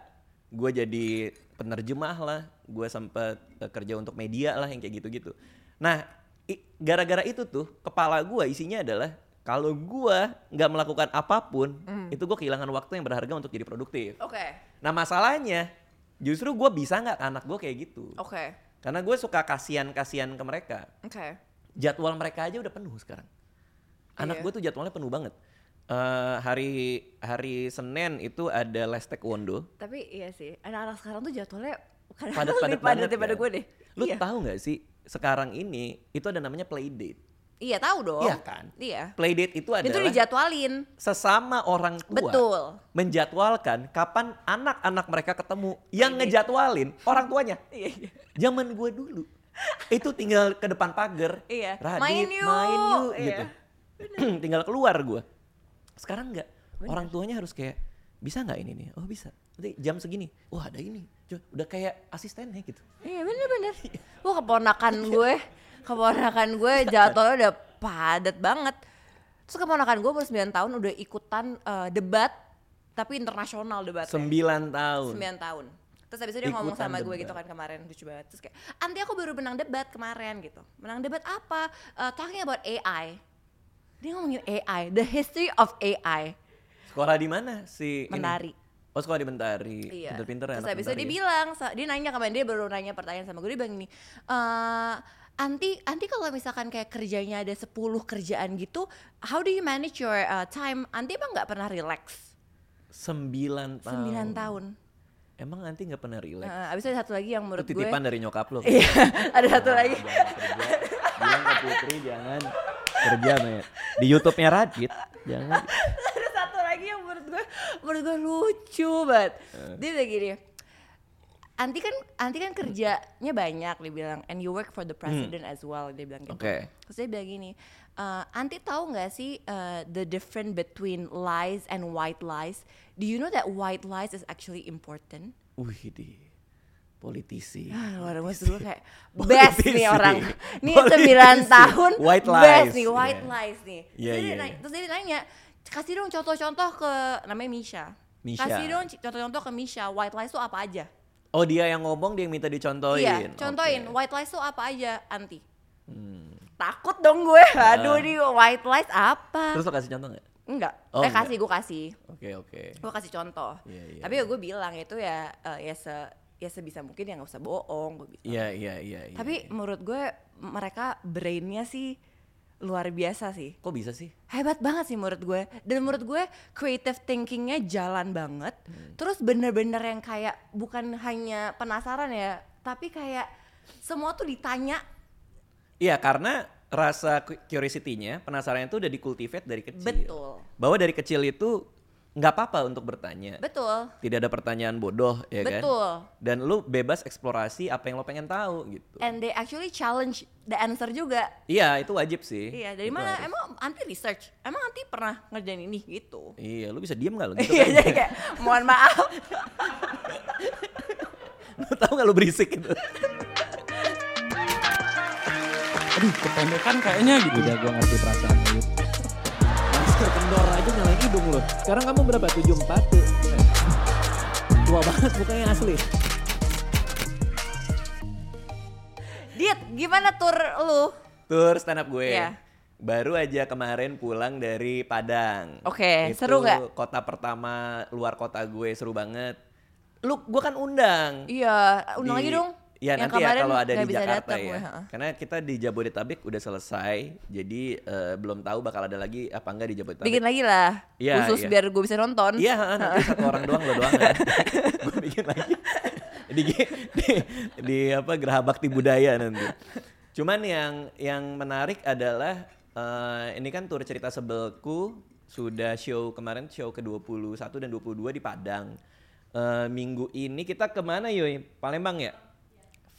Speaker 2: gue jadi penerjemah lah, gue sempet eh, kerja untuk media lah yang kayak gitu-gitu. Nah i- gara-gara itu tuh kepala gua isinya adalah kalau gua nggak melakukan apapun, itu gue kehilangan waktu yang berharga untuk jadi produktif.
Speaker 3: Oke.
Speaker 2: Nah masalahnya justru gue bisa nggak ke anak gue kayak gitu.
Speaker 3: Oke.
Speaker 2: Karena gue suka kasihan-kasihan ke mereka.
Speaker 3: Oke.
Speaker 2: Jadwal mereka aja udah penuh sekarang. Anak
Speaker 3: Iya.
Speaker 2: gue tuh jadwalnya penuh banget. Eh, hari hari Senin itu ada les taekwondo.
Speaker 3: Tapi iya sih, anak-anak sekarang tuh jadwalnya kadang
Speaker 2: Padat padat
Speaker 3: lebih
Speaker 2: banget.
Speaker 3: padat daripada
Speaker 2: kan?
Speaker 3: gue deh.
Speaker 2: Lu
Speaker 3: iya.
Speaker 2: tahu nggak sih sekarang ini itu ada namanya playdate.
Speaker 3: Iya, tahu dong.
Speaker 2: Iya kan?
Speaker 3: Iya.
Speaker 2: Playdate itu
Speaker 3: Itu
Speaker 2: adalah
Speaker 3: dijadwalin.
Speaker 2: sesama orang tua
Speaker 3: Betul.
Speaker 2: menjadwalkan kapan anak-anak mereka ketemu yang
Speaker 3: Playdate.
Speaker 2: ngejadwalin orang tuanya.
Speaker 3: Iya, iya.
Speaker 2: Zaman gue dulu itu tinggal ke depan pagar.
Speaker 3: Iya.
Speaker 2: Radit,
Speaker 3: Main
Speaker 2: main
Speaker 3: yuk.
Speaker 2: yuk,
Speaker 3: Iya.
Speaker 2: gitu. tinggal keluar gue. Sekarang nggak. Orang tuanya harus kayak bisa nggak ini nih? Oh bisa. Nanti jam segini. Wah ada ini. Cuk, Udah kayak asistennya gitu.
Speaker 3: Iya, bener-bener. Wah, keponakan gue, keponakan gue jadwalnya udah padat banget. Terus keponakan gue baru 9 tahun udah ikutan eh, debat tapi internasional debat.
Speaker 2: Sembilan tahun.
Speaker 3: 9 tahun. Terus habis itu dia ngomong
Speaker 2: Ikutan
Speaker 3: sama gue
Speaker 2: debat.
Speaker 3: gitu kan kemarin lucu banget. Terus kayak, "Anti aku baru menang debat kemarin gitu." Menang debat apa? Eh, talking about AI. Dia ngomongin AI, the history of AI.
Speaker 2: Sekolah di mana si ini?
Speaker 3: Menari.
Speaker 2: Oh sekolah di Mentari.
Speaker 3: Iya.
Speaker 2: Pinter-pinter
Speaker 3: Terus
Speaker 2: anak
Speaker 3: habis itu
Speaker 2: Mentari
Speaker 3: dia
Speaker 2: ya.
Speaker 3: bilang, sa- dia nanya kemarin dia baru nanya pertanyaan sama gue dia bilang gini, "Eh, Anti, anti kalau misalkan kayak kerjanya ada 10 kerjaan gitu, how do you manage your uh, time? Anti emang nggak pernah relax?
Speaker 2: Sembilan tahun.
Speaker 3: 9 tahun.
Speaker 2: Emang nanti nggak pernah relax.
Speaker 3: Eh, abis itu ada satu lagi
Speaker 2: Itu
Speaker 3: yang menurut gue,
Speaker 2: titipan Nah, dari nyokap lo.
Speaker 3: iya, ada satu lagi.
Speaker 2: Jangan kerja. Bilang ke Putri jangan kerja Maya. Di YouTube-nya Radit. Jangan.
Speaker 3: ada satu lagi yang menurut gue menurut gue lucu banget dia udah gini Anti kan Anti kan kerjanya banyak dia bilang and you work for the president as well dia bilang gitu.
Speaker 2: Oke.
Speaker 3: Terus dia bilang gini, "Eh, Anti tahu nggak sih eh, the difference between lies and white lies? Do you know that white lies is actually important?
Speaker 2: Wih di politisi.
Speaker 3: Ah, luar biasa gue kayak best
Speaker 2: Politisi.
Speaker 3: nih orang. Nih
Speaker 2: Politisi.
Speaker 3: 9 tahun
Speaker 2: White
Speaker 3: best
Speaker 2: lies.
Speaker 3: nih white
Speaker 2: Iya.
Speaker 3: lies nih.
Speaker 2: Iya, iya,
Speaker 3: terus, dia nanya,
Speaker 2: iya.
Speaker 3: terus dia nanya, kasih dong contoh-contoh ke namanya Misha.
Speaker 2: Misha.
Speaker 3: Kasih dong c- contoh-contoh ke Misha, white lies tuh apa aja?
Speaker 2: Oh dia yang ngomong dia yang minta dicontohin.
Speaker 3: iya,
Speaker 2: Oke.
Speaker 3: contohin
Speaker 2: Hmm.
Speaker 3: white lies tuh apa aja, anti. Takut dong gue.
Speaker 2: Iya.
Speaker 3: Aduh nih white lies apa?
Speaker 2: Terus lo kasih contoh nggak?
Speaker 3: enggak.
Speaker 2: Oh,
Speaker 3: eh
Speaker 2: enggak.
Speaker 3: kasih gue kasih.
Speaker 2: Oke oke.
Speaker 3: Gue kasih contoh.
Speaker 2: Iya, iya,
Speaker 3: Tapi ya gue bilang itu ya eh, ya se ya sebisa mungkin ya nggak usah bohong gue bilang.
Speaker 2: Iya iya iya. iya.
Speaker 3: Tapi menurut gue mereka brainnya sih luar biasa sih.
Speaker 2: kok bisa sih?
Speaker 3: Hebat banget sih menurut gue. Dan menurut gue creative thinkingnya jalan banget.
Speaker 2: Hmm.
Speaker 3: Terus bener-bener yang kayak bukan hanya penasaran ya. Tapi kayak semua tuh ditanya.
Speaker 2: Iya karena rasa cu- curiosity-nya, penasarannya itu udah dikultivate dari kecil.
Speaker 3: Betul.
Speaker 2: Bahwa dari kecil itu nggak apa-apa untuk bertanya.
Speaker 3: Betul.
Speaker 2: Tidak ada pertanyaan bodoh ya kan?
Speaker 3: Betul.
Speaker 2: Dan lu bebas eksplorasi apa yang lo pengen tahu gitu.
Speaker 3: And they actually challenge the answer juga.
Speaker 2: Iya itu wajib sih.
Speaker 3: Iya dari
Speaker 2: Itu
Speaker 3: mana?
Speaker 2: harus.
Speaker 3: Emang anti research? Emang anti pernah ngerjain ini gitu?
Speaker 2: Iya lu bisa diem nggak lo? Gitu
Speaker 3: Iya
Speaker 2: kan?
Speaker 3: jadi kayak mohon maaf.
Speaker 2: Lu tahu nggak lu berisik gitu?
Speaker 4: Aduh, kependekan kayaknya gitu. Udah gue ngerti perasaan lu. Masker kendor aja nyalain hidung lu. Sekarang kamu berapa? 74 tuh. Eh, Tua banget mukanya asli.
Speaker 3: Dit, gimana tur lu?
Speaker 2: Tur stand up gue.
Speaker 3: Iya.
Speaker 2: Baru aja kemarin pulang dari Padang.
Speaker 3: Oke,
Speaker 2: Itu
Speaker 3: seru nggak?
Speaker 2: Kota pertama luar kota gue seru banget. Lu gue kan undang.
Speaker 3: Iya, undang
Speaker 2: Di-
Speaker 3: lagi dong.
Speaker 2: Iya
Speaker 3: Yang
Speaker 2: nanti ya
Speaker 3: kemarin
Speaker 2: kalau ada
Speaker 3: nggak
Speaker 2: di
Speaker 3: bisa
Speaker 2: Jakarta
Speaker 3: datang
Speaker 2: ya.
Speaker 3: gue, ha.
Speaker 2: Karena kita di Jabodetabek udah selesai, jadi eh, belum tahu bakal ada lagi apa enggak di Jabodetabek.
Speaker 3: Bikin lagi lah,
Speaker 2: Iya,
Speaker 3: khusus
Speaker 2: iya.
Speaker 3: biar gue bisa nonton.
Speaker 2: Iya, ha, nanti satu orang doang lo doang. Gue bikin lagi di, di, di apa Geraha Bakti Budaya nanti. Cuman yang yang menarik adalah eh, ini kan tur cerita sebelku sudah show kemarin show ke-21 dan 22 di Padang. Eh, minggu ini kita kemana Yoi? Palembang ya?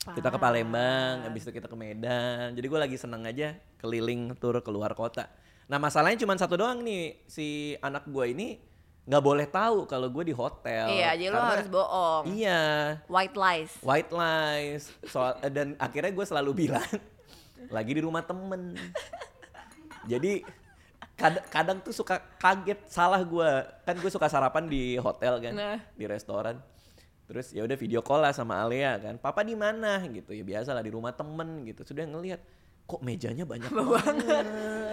Speaker 2: Kita ke Palembang, habis itu kita ke Medan. Jadi gue lagi seneng aja keliling tur keluar kota. Nah masalahnya cuma satu doang nih si anak gue ini nggak boleh tahu kalau gue di hotel.
Speaker 3: Iya, jadi lo
Speaker 2: Karena-
Speaker 3: harus bohong.
Speaker 2: Iya,
Speaker 3: White lies.
Speaker 2: white lies. Soal dan akhirnya gue selalu bilang lagi di rumah temen. Jadi kad- kadang tuh suka kaget salah gue kan gue suka sarapan di hotel kan
Speaker 3: Nah.
Speaker 2: di restoran terus ya udah video call lah sama Alia kan papa di mana gitu ya biasa lah di rumah temen gitu sudah ngelihat kok mejanya banyak banget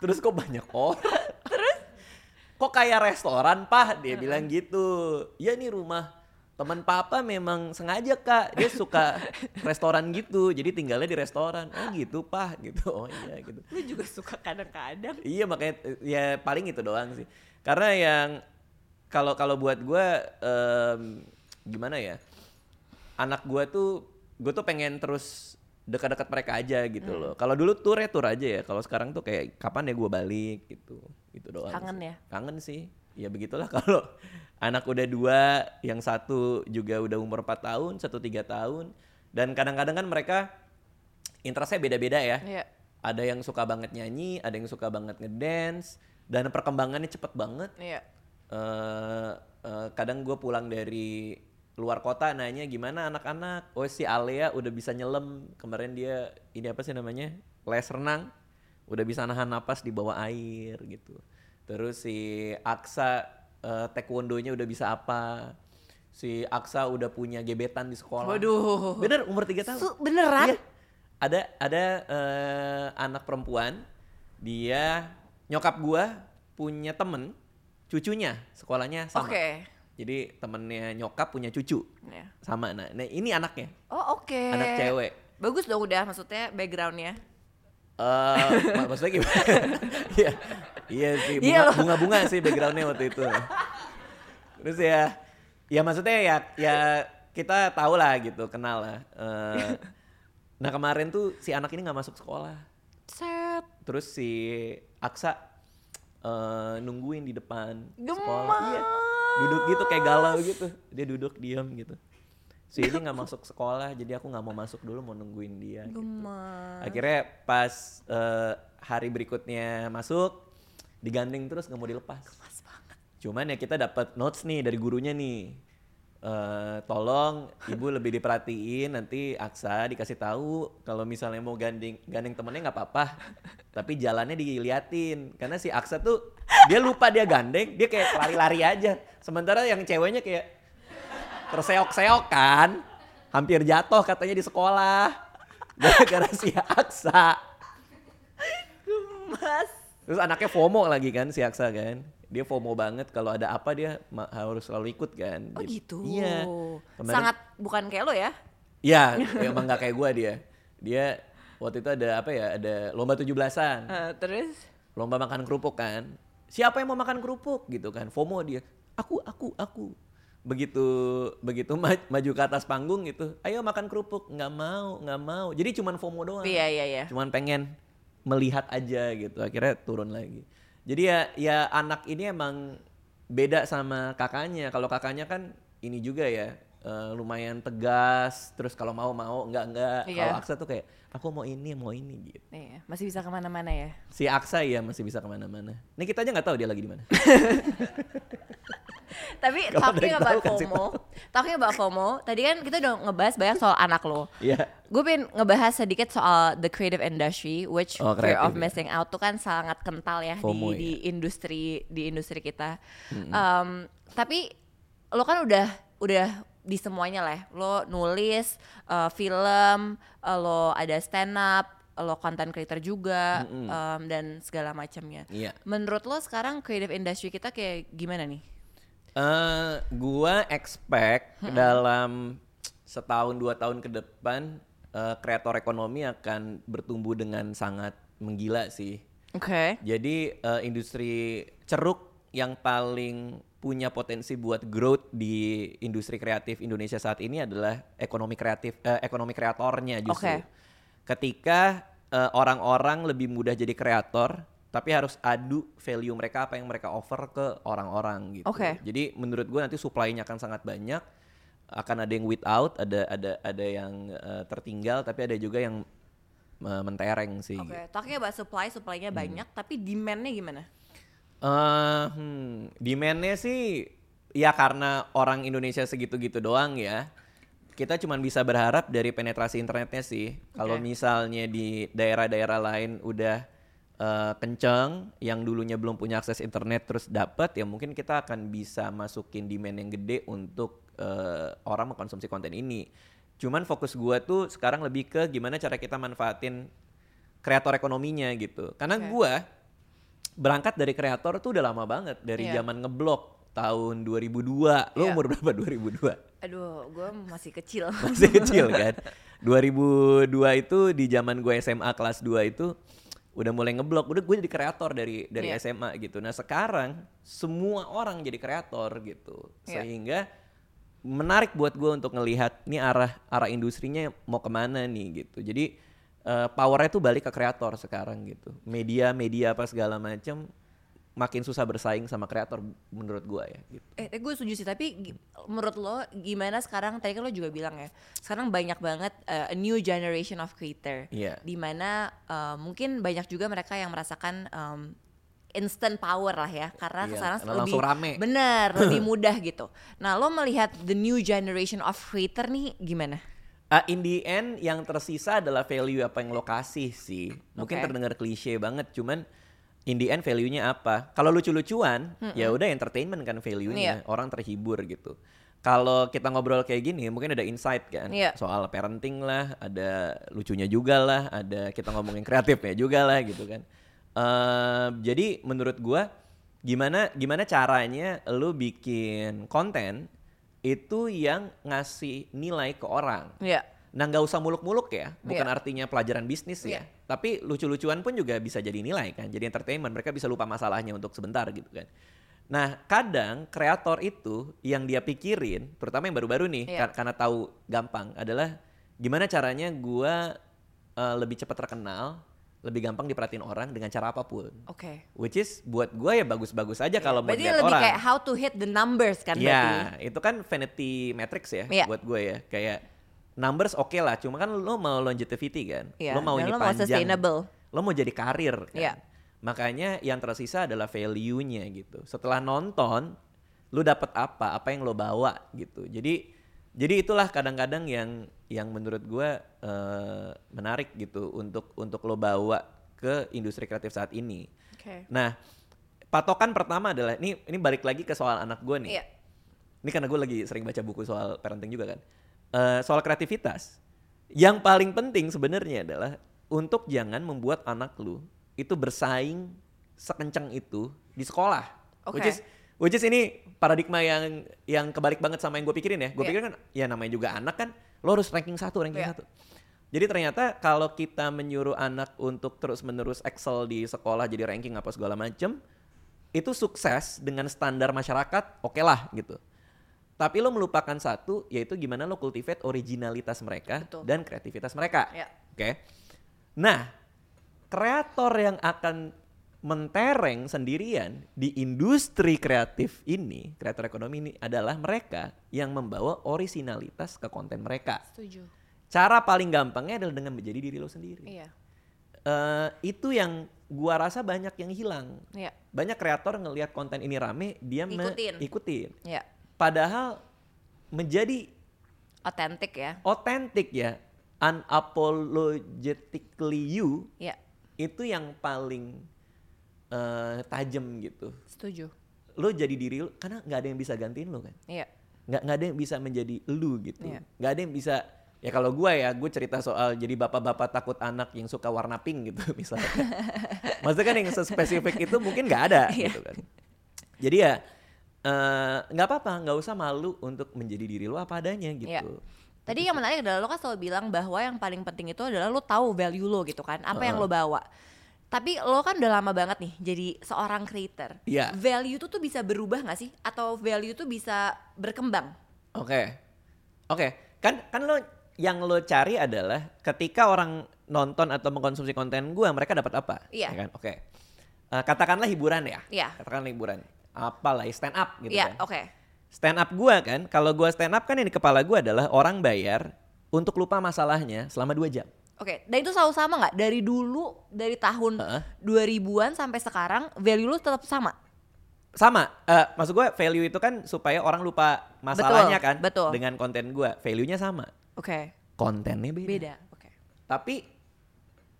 Speaker 2: terus kok banyak orang terus kok kayak restoran pak dia bilang gitu ya ini rumah teman papa memang sengaja kak dia suka restoran gitu jadi tinggalnya di restoran oh gitu pak gitu oh iya gitu
Speaker 3: Lu juga suka kadang-kadang.
Speaker 2: Iya makanya eh, ya paling itu doang sih. Karena yang kalau kalau buat gue em, gimana ya anak gue tuh gue tuh pengen terus dekat-dekat mereka aja gitu
Speaker 3: Hmm.
Speaker 2: loh. Kalau dulu tour ya tour aja ya. Kalau sekarang tuh kayak kapan ya gue balik gitu gitu doang.
Speaker 3: Kangen
Speaker 2: sih.
Speaker 3: ya?
Speaker 2: Kangen sih. Ya begitulah kalau anak udah dua, yang satu juga udah umur 4 tahun, satu tiga tahun. Dan kadang-kadang kan mereka interestnya beda-beda ya
Speaker 3: Iya.
Speaker 2: ada yang suka banget nyanyi, ada yang suka banget ngedance, dan perkembangannya cepet banget.
Speaker 3: Iya.
Speaker 2: eh eh, kadang gue pulang dari luar kota nanya gimana anak-anak. Oh si Alea udah bisa nyelam kemarin dia ini apa sih namanya les renang. udah bisa nahan napas di bawah air gitu. Terus si Aksa eh, taekwondonya udah bisa apa? Si Aksa udah punya gebetan di sekolah.
Speaker 3: Waduh.
Speaker 2: Bener umur 3 tahun.
Speaker 3: Su- beneran?
Speaker 2: Iya. Ada ada eh, anak perempuan dia nyokap gua punya temen cucunya sekolahnya sama.
Speaker 3: Oke.
Speaker 2: Jadi temennya nyokap punya cucu
Speaker 3: Ya.
Speaker 2: sama nah, nah ini anaknya
Speaker 3: Oh oke.
Speaker 2: anak cewek.
Speaker 3: Bagus dong udah maksudnya backgroundnya.
Speaker 2: Eh, mak- maksudnya gimana? Iya, iya sih
Speaker 3: Iya
Speaker 2: bunga-
Speaker 3: loh.
Speaker 2: bunga-bunga sih backgroundnya waktu itu. Terus ya, ya maksudnya ya, ya kita tahu lah gitu, kenal lah. Eh, nah kemarin tuh si anak ini nggak masuk sekolah,
Speaker 3: Set.
Speaker 2: terus si Aksa eh, nungguin di depan sekolah.
Speaker 3: Gemas.
Speaker 2: Iya. Duduk gitu kayak galau gitu, dia duduk diam gitu. Si ini nggak masuk sekolah, jadi aku nggak mau masuk dulu, mau nungguin dia. gitu.
Speaker 3: Gemas.
Speaker 2: Akhirnya pas eh, hari berikutnya masuk digandeng terus nggak mau dilepas. Cuman ya kita dapat notes nih dari gurunya nih. Eh, tolong ibu lebih diperhatiin nanti Aksa dikasih tahu kalau misalnya mau gandeng gandeng temennya nggak apa-apa tapi jalannya diliatin karena si Aksa tuh dia lupa dia gandeng dia kayak lari-lari aja sementara yang ceweknya kayak terseok-seok kan hampir jatuh katanya di sekolah gara-gara si Aksa
Speaker 3: Gemas.
Speaker 2: terus anaknya FOMO lagi kan si Aksa kan dia FOMO banget kalau ada apa dia ma- harus selalu ikut kan
Speaker 3: Oh gitu.
Speaker 2: iya Kemarin-
Speaker 3: Sangat bukan kayak lo ya.
Speaker 2: iya emang gak kayak gua dia dia waktu itu ada apa ya ada lomba 17-an
Speaker 3: Eh, terus
Speaker 2: lomba makan kerupuk kan siapa yang mau makan kerupuk gitu kan FOMO dia aku aku aku begitu begitu ma- maju ke atas panggung gitu ayo makan kerupuk nggak mau nggak mau jadi cuman FOMO doang
Speaker 3: Iya, iya, iya.
Speaker 2: cuman pengen melihat aja gitu akhirnya turun lagi jadi ya ya anak ini emang beda sama kakaknya kalau kakaknya kan ini juga ya eh, lumayan tegas terus kalau mau mau nggak nggak
Speaker 3: Iya.
Speaker 2: kalau Aksa tuh kayak aku mau ini mau ini gitu
Speaker 3: Nih, Iya, masih bisa kemana-mana ya.
Speaker 2: Si Aksa ya masih bisa kemana-mana. Nih kita aja nggak tahu dia lagi di mana.
Speaker 3: Tapi
Speaker 2: Kalau ada
Speaker 3: talking
Speaker 2: yang
Speaker 3: about
Speaker 2: tahu, kan kasih
Speaker 3: FOMO, talking about FOMO, tadi kan kita udah ngebahas banyak soal anak lo.
Speaker 2: Iya.
Speaker 3: Gue pengen ngebahas sedikit soal the creative industry, which
Speaker 2: Oh,
Speaker 3: fear
Speaker 2: kreatif
Speaker 3: of
Speaker 2: ya.
Speaker 3: missing out tuh kan sangat kental ya
Speaker 2: FOMO
Speaker 3: di,
Speaker 2: ya.
Speaker 3: di industri di industri kita. Um, tapi lo kan udah udah di semuanya lah, ya. lo nulis, uh, film, uh, lo ada stand up, lo content creator juga, um, dan segala macamnya.
Speaker 2: Iya.
Speaker 3: Menurut lo sekarang creative industry kita kayak gimana nih?
Speaker 2: Eh, gua expect dalam setahun dua tahun ke depan eh, kreator ekonomi akan bertumbuh dengan sangat menggila sih.
Speaker 3: Oke.
Speaker 2: Jadi eh, industri ceruk yang paling punya potensi buat growth di industri kreatif Indonesia saat ini adalah ekonomi kreatif eh, ekonomi kreatornya justru.
Speaker 3: Oke.
Speaker 2: Ketika eh, orang-orang lebih mudah jadi kreator, tapi harus adu value mereka apa yang mereka offer ke orang-orang gitu.
Speaker 3: Oke.
Speaker 2: Jadi menurut gue nanti supply-nya akan sangat banyak. Akan ada yang without, ada ada ada yang eh, tertinggal, tapi ada juga yang eh, mentereng sih.
Speaker 3: Oke,
Speaker 2: gitu.
Speaker 3: talking about supply, supply-nya
Speaker 2: Hmm.
Speaker 3: banyak, tapi demand-nya gimana?
Speaker 2: Eh, hmm, demand-nya sih ya karena orang Indonesia segitu-gitu doang ya. Kita cuman bisa berharap dari penetrasi internetnya sih. Kalau
Speaker 3: Oke.
Speaker 2: misalnya di daerah-daerah lain udah eh, kenceng, yang dulunya belum punya akses internet terus dapat, ya mungkin kita akan bisa masukin demand yang gede untuk eh, orang mengkonsumsi konten ini. Cuman fokus gua tuh sekarang lebih ke gimana cara kita manfaatin kreator ekonominya gitu. Karena
Speaker 3: Oke.
Speaker 2: gua berangkat dari kreator tuh udah lama banget dari
Speaker 3: Iya.
Speaker 2: zaman ngeblok tahun 2002. Lo
Speaker 3: Iya.
Speaker 2: umur berapa 2002?
Speaker 3: Aduh, gue masih kecil.
Speaker 2: Masih kecil kan. 2002 itu di zaman gue SMA kelas 2 itu udah mulai ngeblok. Udah gue jadi kreator dari dari
Speaker 3: Iya.
Speaker 2: SMA gitu. Nah, sekarang semua orang jadi kreator gitu.
Speaker 3: Iya.
Speaker 2: Sehingga menarik buat gue untuk ngelihat nih arah arah industrinya mau kemana nih gitu. Jadi eh, powernya tuh balik ke kreator sekarang gitu. Media media apa segala macam makin susah bersaing sama kreator menurut gue ya gitu.
Speaker 3: eh, gue setuju sih, tapi gi- menurut lo gimana sekarang? Tadi kan lo juga bilang ya, sekarang banyak banget uh, a new generation of creator.
Speaker 2: Iya.
Speaker 3: Dimana uh, mungkin banyak juga mereka yang merasakan um, instant power lah ya, karena
Speaker 2: Iya,
Speaker 3: sekarang
Speaker 2: karena
Speaker 3: lebih
Speaker 2: langsung rame.
Speaker 3: bener, lebih mudah gitu. Nah, lo melihat the new generation of creator nih gimana?
Speaker 2: Eh Uh, in the end yang tersisa adalah value apa yang lo kasih sih. Mungkin
Speaker 3: Oke.
Speaker 2: terdengar klise banget, cuman in the end value-nya apa? Kalau lucu-lucuan, ya udah entertainment kan value-nya,
Speaker 3: Iya.
Speaker 2: orang terhibur gitu. Kalau kita ngobrol kayak gini, mungkin ada insight kan
Speaker 3: Iya.
Speaker 2: soal parenting lah, ada lucunya juga lah, ada kita ngomongin kreatifnya juga lah gitu kan. Eh, jadi menurut gua gimana gimana caranya lu bikin konten itu yang ngasih nilai ke orang.
Speaker 3: Iya.
Speaker 2: Nah nggak usah muluk-muluk ya, bukan
Speaker 3: Iya.
Speaker 2: artinya pelajaran bisnis
Speaker 3: Iya.
Speaker 2: ya. Tapi lucu-lucuan pun juga bisa jadi nilai kan, jadi entertainment. Mereka bisa lupa masalahnya untuk sebentar gitu kan. Nah kadang kreator itu yang dia pikirin, terutama yang baru-baru nih
Speaker 3: Iya.
Speaker 2: kar- karena tahu gampang adalah gimana caranya gua eh, lebih cepat terkenal, lebih gampang diperhatiin orang dengan cara apapun.
Speaker 3: Oke.
Speaker 2: Which is buat gua ya bagus-bagus aja kalau buat
Speaker 3: Iya. Berarti
Speaker 2: lihat
Speaker 3: lebih
Speaker 2: orang.
Speaker 3: kayak how to hit the numbers kan berarti.
Speaker 2: Ya, itu kan vanity metrics ya
Speaker 3: Iya.
Speaker 2: buat gue ya. Kayak numbers oke lah, cuma kan lo mau longevity kan.
Speaker 3: Iya,
Speaker 2: Lo mau
Speaker 3: dan
Speaker 2: ini
Speaker 3: lo mau
Speaker 2: panjang.
Speaker 3: sustainable.
Speaker 2: Lo mau jadi karir kan.
Speaker 3: Iya.
Speaker 2: Makanya yang tersisa adalah value-nya gitu. Setelah nonton, lo dapet apa? Apa yang lo bawa gitu. Jadi jadi itulah kadang-kadang yang yang menurut gue eh, menarik gitu untuk untuk lo bawa ke industri kreatif saat ini.
Speaker 3: Oke.
Speaker 2: Nah, patokan pertama adalah ini ini balik lagi ke soal anak gue nih.
Speaker 3: Iya.
Speaker 2: Ini karena gue lagi sering baca buku soal parenting juga kan. Eh, soal kreativitas. Yang paling penting sebenarnya adalah untuk jangan membuat anak lu itu bersaing sekencang itu di sekolah.
Speaker 3: Oke.
Speaker 2: Which is which is ini paradigma yang yang kebalik banget sama yang gue pikirin ya. Gue
Speaker 3: Iya.
Speaker 2: pikir kan ya namanya juga anak kan lo harus ranking satu, ranking
Speaker 3: Iya.
Speaker 2: satu. Jadi ternyata kalau kita menyuruh anak untuk terus-menerus excel di sekolah jadi ranking apa segala macem, itu sukses dengan standar masyarakat, oke lah gitu. Tapi lo melupakan satu, yaitu gimana lo cultivate originalitas mereka
Speaker 3: Betul.
Speaker 2: dan kreativitas mereka.
Speaker 3: Ya.
Speaker 2: Oke. Nah, kreator yang akan mentereng sendirian di industri kreatif ini, kreator ekonomi ini adalah mereka yang membawa originalitas ke konten mereka.
Speaker 3: Setuju.
Speaker 2: Cara paling gampangnya adalah dengan menjadi diri lo sendiri.
Speaker 3: Iya.
Speaker 2: Eh, itu yang gua rasa banyak yang hilang.
Speaker 3: Iya.
Speaker 2: Banyak kreator ngelihat konten ini rame, dia me-
Speaker 3: Ikutin.
Speaker 2: ikutin.
Speaker 3: Iya.
Speaker 2: Padahal menjadi
Speaker 3: Otentik ya.
Speaker 2: otentik ya, unapologetically you
Speaker 3: Iya.
Speaker 2: itu yang paling eh, tajam gitu.
Speaker 3: Setuju.
Speaker 2: Lo jadi diri lo, karena nggak ada yang bisa gantiin lo kan.
Speaker 3: Iya.
Speaker 2: Nggak nggak ada yang bisa menjadi lu gitu.
Speaker 3: Iya.
Speaker 2: Nggak ada yang bisa ya kalau gue ya gue cerita soal jadi bapak-bapak takut anak yang suka warna pink gitu misalnya. Maksudnya kan yang sespesifik itu mungkin nggak ada
Speaker 3: Iya.
Speaker 2: gitu kan. Jadi ya eh, nggak apa-apa, nggak usah malu untuk menjadi diri lo apa adanya gitu.
Speaker 3: Iya. Tadi yang menarik adalah lo kan selalu bilang bahwa yang paling penting itu adalah lo tahu value lo gitu kan, apa yang lo bawa. Tapi lo kan udah lama banget nih jadi seorang creator.
Speaker 2: Iya.
Speaker 3: Value itu tuh bisa berubah nggak sih? Atau value itu bisa berkembang?
Speaker 2: Oke. Oke, kan kan lo yang lo cari adalah ketika orang nonton atau mengkonsumsi konten gua, mereka dapat apa?
Speaker 3: Iya.
Speaker 2: Ya kan? Oke. Eh, katakanlah hiburan ya.
Speaker 3: Iya.
Speaker 2: Katakanlah hiburan. Apalah stand up gitu
Speaker 3: Iya,
Speaker 2: kan.
Speaker 3: oke.
Speaker 2: Stand up gua kan, kalau gua stand up kan yang di kepala gua adalah orang bayar untuk lupa masalahnya selama dua jam.
Speaker 3: Oke, dan itu selalu sama nggak? Dari dulu, dari tahun
Speaker 2: Heeh.
Speaker 3: 2000-an sampai sekarang, value lo tetap sama?
Speaker 2: Sama, eh, maksud gua value itu kan supaya orang lupa masalahnya
Speaker 3: Betul,
Speaker 2: kan
Speaker 3: betul.
Speaker 2: dengan konten gua. Value-nya sama,
Speaker 3: Oke,
Speaker 2: kontennya
Speaker 3: beda. Iya. Oke.
Speaker 2: tapi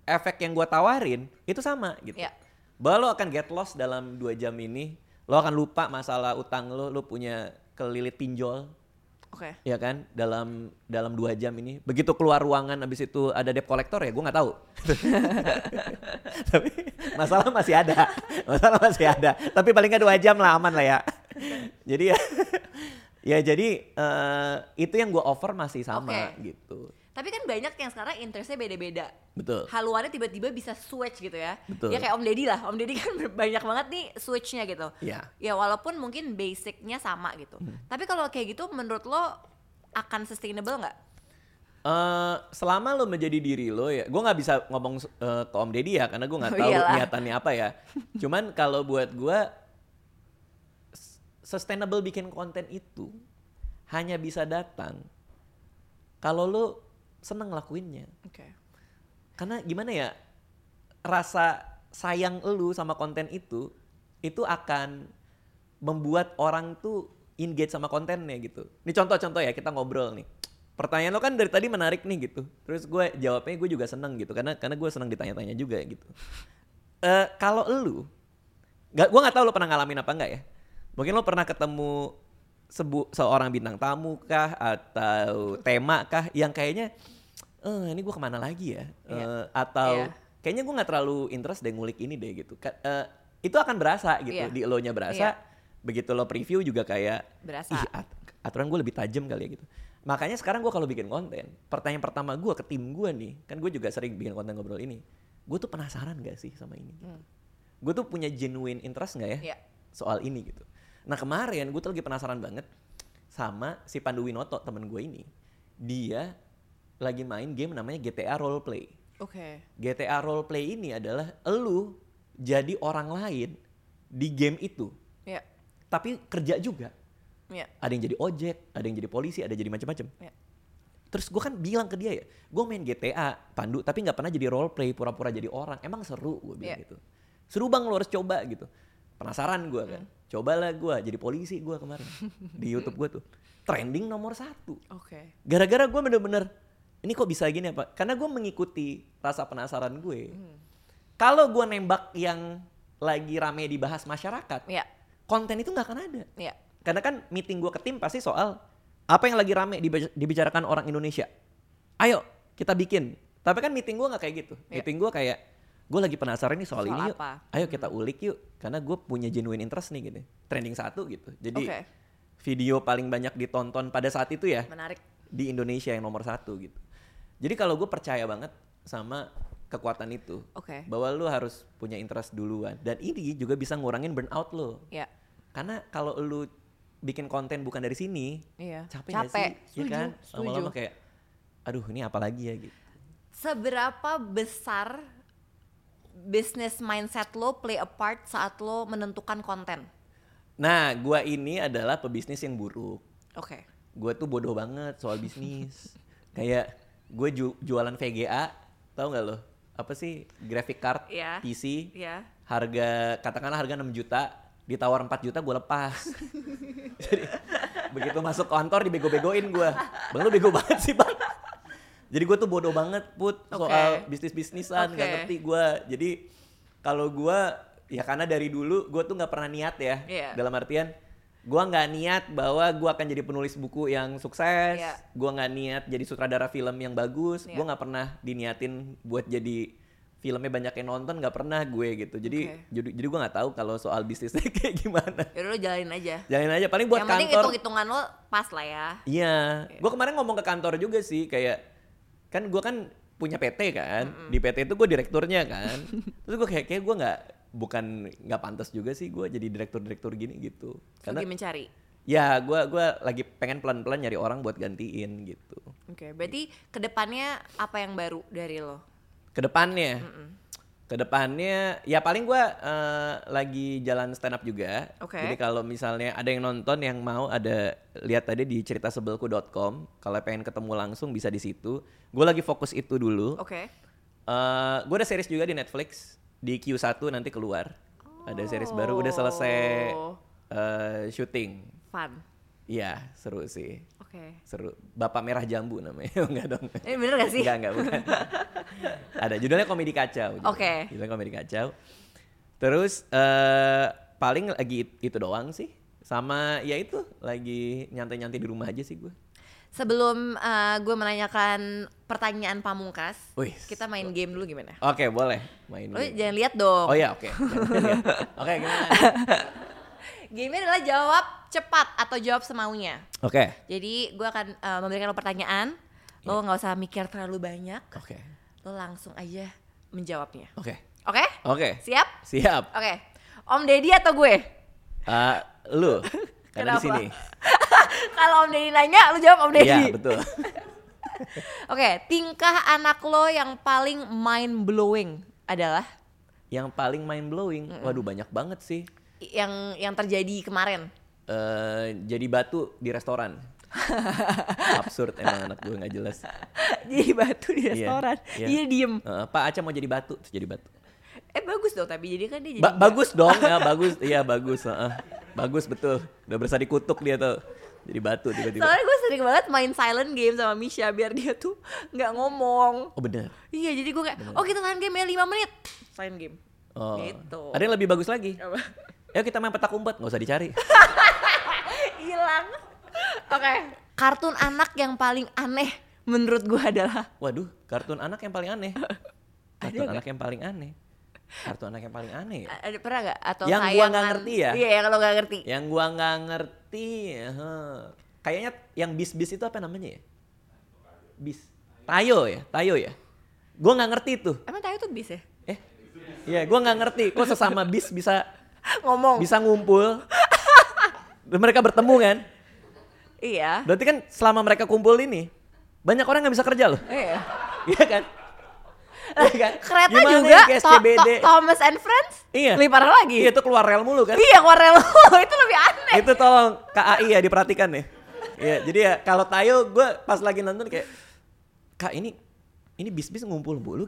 Speaker 2: efek yang gue tawarin itu sama gitu.
Speaker 3: Iya.
Speaker 2: Bahwa lo akan get lost dalam dua jam ini, lo akan lupa masalah utang lo, lo punya kelilit pinjol,
Speaker 3: Oke.
Speaker 2: ya kan? Dalam dalam dua jam ini, begitu keluar ruangan, abis itu ada debt collector ya, gue nggak tahu. tapi masalah masih ada, masalah masih ada. Tapi paling nggak dua jam lah aman lah ya. jadi ya, ya jadi eh, itu yang gue offer masih sama
Speaker 3: Oke.
Speaker 2: gitu,
Speaker 3: Tapi kan banyak yang sekarang interestnya beda-beda.
Speaker 2: betul.
Speaker 3: haluannya tiba-tiba bisa switch gitu ya.
Speaker 2: Betul.
Speaker 3: Ya kayak Om Deddy lah, Om Deddy kan banyak banget nih switchnya gitu.
Speaker 2: Iya. Hmm.
Speaker 3: Ya walaupun mungkin basicnya sama gitu. Tapi kalau kayak gitu menurut lo akan sustainable nggak?
Speaker 2: Eh, selama lo menjadi diri lo ya, gue nggak bisa ngomong eh, ke Om Deddy ya karena gue nggak
Speaker 3: Oh,
Speaker 2: tahu
Speaker 3: iyalah.
Speaker 2: niatannya apa ya. Cuman kalau buat gue s- sustainable bikin konten itu hanya bisa datang kalau lo seneng lakuinnya.
Speaker 3: Oke.
Speaker 2: Karena gimana ya rasa sayang lo sama konten itu itu akan membuat orang tuh engage sama kontennya gitu. Ini contoh-contoh ya kita ngobrol nih. pertanyaan lo kan dari tadi menarik nih gitu. Terus gue jawabnya gue juga seneng gitu karena karena gue seneng ditanya-tanya juga gitu. Eh kalau elu, gak, gue nggak tahu lo pernah ngalamin apa nggak ya? Mungkin lo pernah ketemu sebu seorang bintang tamu kah atau tema kah yang kayaknya eh ini gue kemana lagi ya? Eh,
Speaker 3: Iya.
Speaker 2: atau
Speaker 3: Iya.
Speaker 2: kayaknya gue nggak terlalu interest deh ngulik ini deh gitu. Ka- eh, itu akan berasa gitu
Speaker 3: Iya.
Speaker 2: di elonya berasa.
Speaker 3: Iya.
Speaker 2: Begitu lo preview juga kayak
Speaker 3: Berasa.
Speaker 2: "Ih, at- aturan gue lebih tajam kali ya gitu. Makanya sekarang gue kalau bikin konten, pertanyaan pertama gue ke tim gue nih, kan gue juga sering bikin konten ngobrol ini. Gue tuh penasaran gak sih sama ini? Gitu. Gue tuh punya genuine interest gak ya
Speaker 3: Iya.
Speaker 2: soal ini gitu. Nah kemarin gue tuh lagi penasaran banget sama si Pandu Winoto temen gue ini. Dia lagi main game namanya GTA Roleplay.
Speaker 3: Oke.
Speaker 2: GTA Roleplay ini adalah elu jadi orang lain di game itu.
Speaker 3: Iya.
Speaker 2: Tapi kerja juga
Speaker 3: Iya.
Speaker 2: ada yang jadi ojek, ada yang jadi polisi, ada yang jadi macam-macam.
Speaker 3: Iya.
Speaker 2: Terus gue kan bilang ke dia ya, gue main GTA, Pandu, tapi nggak pernah jadi role play, pura-pura jadi orang. Emang seru gue bilang
Speaker 3: Iya.
Speaker 2: gitu. Seru bang lo harus coba gitu. Penasaran gue kan. Cobalah gue jadi polisi gue kemarin di YouTube gue tuh. Trending nomor satu.
Speaker 3: Oke.
Speaker 2: Gara-gara gue bener-bener, ini kok bisa gini apa? Karena gue mengikuti rasa penasaran gue. Kalau gue nembak yang lagi rame dibahas masyarakat,
Speaker 3: Iya.
Speaker 2: konten itu nggak akan ada.
Speaker 3: Iya.
Speaker 2: Karena kan meeting gue ke tim pasti soal apa yang lagi rame dibe- dibicarakan orang Indonesia. Ayo kita bikin. Tapi kan meeting gue nggak kayak gitu.
Speaker 3: Iya.
Speaker 2: Meeting gue kayak gue lagi penasaran nih soal,
Speaker 3: Soal
Speaker 2: ini yuk.
Speaker 3: apa? Hmm.
Speaker 2: Ayo kita ulik yuk. Karena gue punya genuine interest nih gitu. Trending satu gitu. Jadi
Speaker 3: Oke.
Speaker 2: video paling banyak ditonton pada saat itu ya
Speaker 3: Menarik.
Speaker 2: di Indonesia yang nomor satu gitu. Jadi kalau gue percaya banget sama kekuatan itu.
Speaker 3: Oke.
Speaker 2: Bahwa lu harus punya interest duluan. Dan ini juga bisa ngurangin burnout lo.
Speaker 3: Iya.
Speaker 2: Karena kalau lu bikin konten bukan dari sini,
Speaker 3: Iya.
Speaker 2: capek, nggak
Speaker 3: Capek.
Speaker 2: sih? Iya
Speaker 3: Setuju,
Speaker 2: kan?
Speaker 3: setuju.
Speaker 2: Lama-lama kayak, aduh ini apa lagi ya gitu.
Speaker 3: Seberapa besar business mindset lo play a part saat lo menentukan konten?
Speaker 2: Nah, gua ini adalah pebisnis yang buruk.
Speaker 3: Oke.
Speaker 2: Gua tuh bodoh banget soal bisnis. kayak gue jualan VGA, tau nggak lo? Apa sih graphic card
Speaker 3: Iya.
Speaker 2: PC?
Speaker 3: Iya.
Speaker 2: Harga katakanlah harga 6 juta, ditawar 4 juta gue lepas. Jadi begitu masuk kantor dibego-begoin gue. Bang lu bego banget sih bang. Jadi gue tuh bodoh banget put soal
Speaker 3: Oke.
Speaker 2: bisnis-bisnisan nggak
Speaker 3: Oke.
Speaker 2: ngerti gue. Jadi kalau gue ya karena dari dulu gue tuh nggak pernah niat ya
Speaker 3: Iya.
Speaker 2: dalam artian gue nggak niat bahwa gue akan jadi penulis buku yang sukses.
Speaker 3: Iya.
Speaker 2: Gue nggak niat jadi sutradara film yang bagus.
Speaker 3: Iya.
Speaker 2: Gue nggak pernah diniatin buat jadi filmnya banyak yang nonton nggak pernah gue gitu. Jadi
Speaker 3: Oke.
Speaker 2: jadi, jadi gue nggak tahu kalau soal bisnisnya kayak gimana.
Speaker 3: Yaudah Ya lo jalanin aja.
Speaker 2: Jalanin aja paling buat
Speaker 3: Yang penting gitu.
Speaker 2: kantor.
Speaker 3: hitung-hitungan lo pas lah ya.
Speaker 2: Iya, gue kemarin ngomong ke kantor juga sih kayak kan gue kan punya PT kan, di PT itu gue direkturnya kan, terus gue kayak kayak gue nggak bukan nggak pantas juga sih gue jadi direktur-direktur gini gitu,
Speaker 3: Karena...
Speaker 2: karena
Speaker 3: mencari.
Speaker 2: ya gue gua lagi pengen pelan-pelan nyari orang buat gantiin gitu.
Speaker 3: Oke, berarti kedepannya apa yang baru dari lo?
Speaker 2: Kedepannya, kedepannya ya paling gue lagi jalan stand up juga,
Speaker 3: Oke.
Speaker 2: jadi kalau misalnya ada yang nonton yang mau ada lihat tadi di ceritasebeluku.com kalau pengen ketemu langsung bisa di situ. Gue lagi fokus itu dulu.
Speaker 3: Oke.
Speaker 2: Eh, gue ada series juga di Netflix di Q1 nanti keluar. Ada series baru udah selesai eh, syuting.
Speaker 3: Fun.
Speaker 2: Iya, seru sih.
Speaker 3: Oke.
Speaker 2: Seru. Bapak Merah Jambu namanya. Enggak dong.
Speaker 3: Ini bener gak sih?
Speaker 2: Enggak, enggak, bukan. ada judulnya Komedi Kacau. judulnya.
Speaker 3: Oke.
Speaker 2: Judulnya Komedi Kacau. Terus eh paling lagi it- itu doang sih. Sama ya itu lagi nyantai-nyantai di rumah aja sih gue.
Speaker 3: Sebelum eh, gue menanyakan pertanyaan pamungkas,
Speaker 2: Wih.
Speaker 3: kita main game dulu gimana?
Speaker 2: Oke, boleh main.
Speaker 3: Lo
Speaker 2: dulu.
Speaker 3: jangan lihat dong.
Speaker 2: Oh ya, oke. Oke, gimana?
Speaker 3: Game adalah jawab cepat atau jawab semaunya.
Speaker 2: Oke.
Speaker 3: Jadi gue akan eh, memberikan lo pertanyaan. Lo
Speaker 2: Iya.
Speaker 3: nggak usah mikir terlalu banyak.
Speaker 2: Oke.
Speaker 3: Lo langsung aja menjawabnya.
Speaker 2: Oke.
Speaker 3: Oke?
Speaker 2: Oke.
Speaker 3: Siap?
Speaker 2: Siap.
Speaker 3: Oke. Om Deddy atau gue?
Speaker 2: Eh, lu karena di
Speaker 3: Kenapa?
Speaker 2: sini.
Speaker 3: Kalau Om Deddy nanya, lo jawab Om Deddy.
Speaker 2: Iya, betul.
Speaker 3: Oke, tingkah anak lo yang paling mind blowing adalah
Speaker 2: Yang paling mind blowing, waduh banyak banget sih.
Speaker 3: yang yang terjadi kemarin.
Speaker 2: Eh jadi batu di restoran. Absurd emang anak gue nggak jelas.
Speaker 3: jadi batu di
Speaker 2: Iya,
Speaker 3: restoran.
Speaker 2: iya.
Speaker 3: Dia diem.
Speaker 2: Eh, Pak Aca mau jadi batu, terus jadi batu.
Speaker 3: Eh bagus dong tapi jadi kan dia jadi.
Speaker 2: Ba- bagus dong, ya bagus, iya bagus, heeh. bagus betul. Udah berasa dikutuk dia tuh. Jadi batu tiba-tiba.
Speaker 3: Soalnya gue sering banget main silent game sama Misha biar dia tuh nggak ngomong.
Speaker 2: Oh bener.
Speaker 3: Iya jadi gue kayak, oh kita silent game ya 5 menit. Silent game.
Speaker 2: Oh.
Speaker 3: Gitu.
Speaker 2: Ada yang lebih bagus lagi.
Speaker 3: Apa?
Speaker 2: Ayo kita main petak umpet, nggak usah dicari.
Speaker 3: Hilang. Oke. Kartun anak yang paling aneh menurut gue adalah
Speaker 2: Waduh, kartun anak yang paling aneh. Kartun
Speaker 3: nggak?
Speaker 2: anak yang paling aneh. Kartun anak yang paling aneh ya.
Speaker 3: ada pernah gak atau
Speaker 2: Yang gua
Speaker 3: tayangan-
Speaker 2: nggak ngerti ya?
Speaker 3: Iya, yang lo gak ngerti.
Speaker 2: Yang gua nggak ngerti. eh, Kayaknya yang bis-bis itu apa namanya ya? Bis. Tayo ya, Tayo ya. Gua nggak ngerti tuh.
Speaker 3: Emang tayo tuh bis ya?
Speaker 2: Eh. Iya, gua nggak ngerti kok sesama bis bisa
Speaker 3: Ngomong.
Speaker 2: bisa ngumpul. Mereka bertemu kan?
Speaker 3: Iya.
Speaker 2: Berarti kan selama mereka kumpul ini banyak orang nggak bisa kerja loh.
Speaker 3: Iya.
Speaker 2: Iya kan? Iya kan?
Speaker 3: Kereta
Speaker 2: Gimana
Speaker 3: juga
Speaker 2: yang ke
Speaker 3: To-
Speaker 2: SCBD?
Speaker 3: To- Thomas and Friends?
Speaker 2: Iya.
Speaker 3: Lebih parah lagi.
Speaker 2: Iya itu keluar rel mulu kan?
Speaker 3: Iya, warna lo itu lebih aneh.
Speaker 2: itu tolong KAI ya diperhatikan ya. Iya, jadi ya kalau Tayo gue pas lagi nonton kayak Kak ini ini bis-bis ngumpul mulu.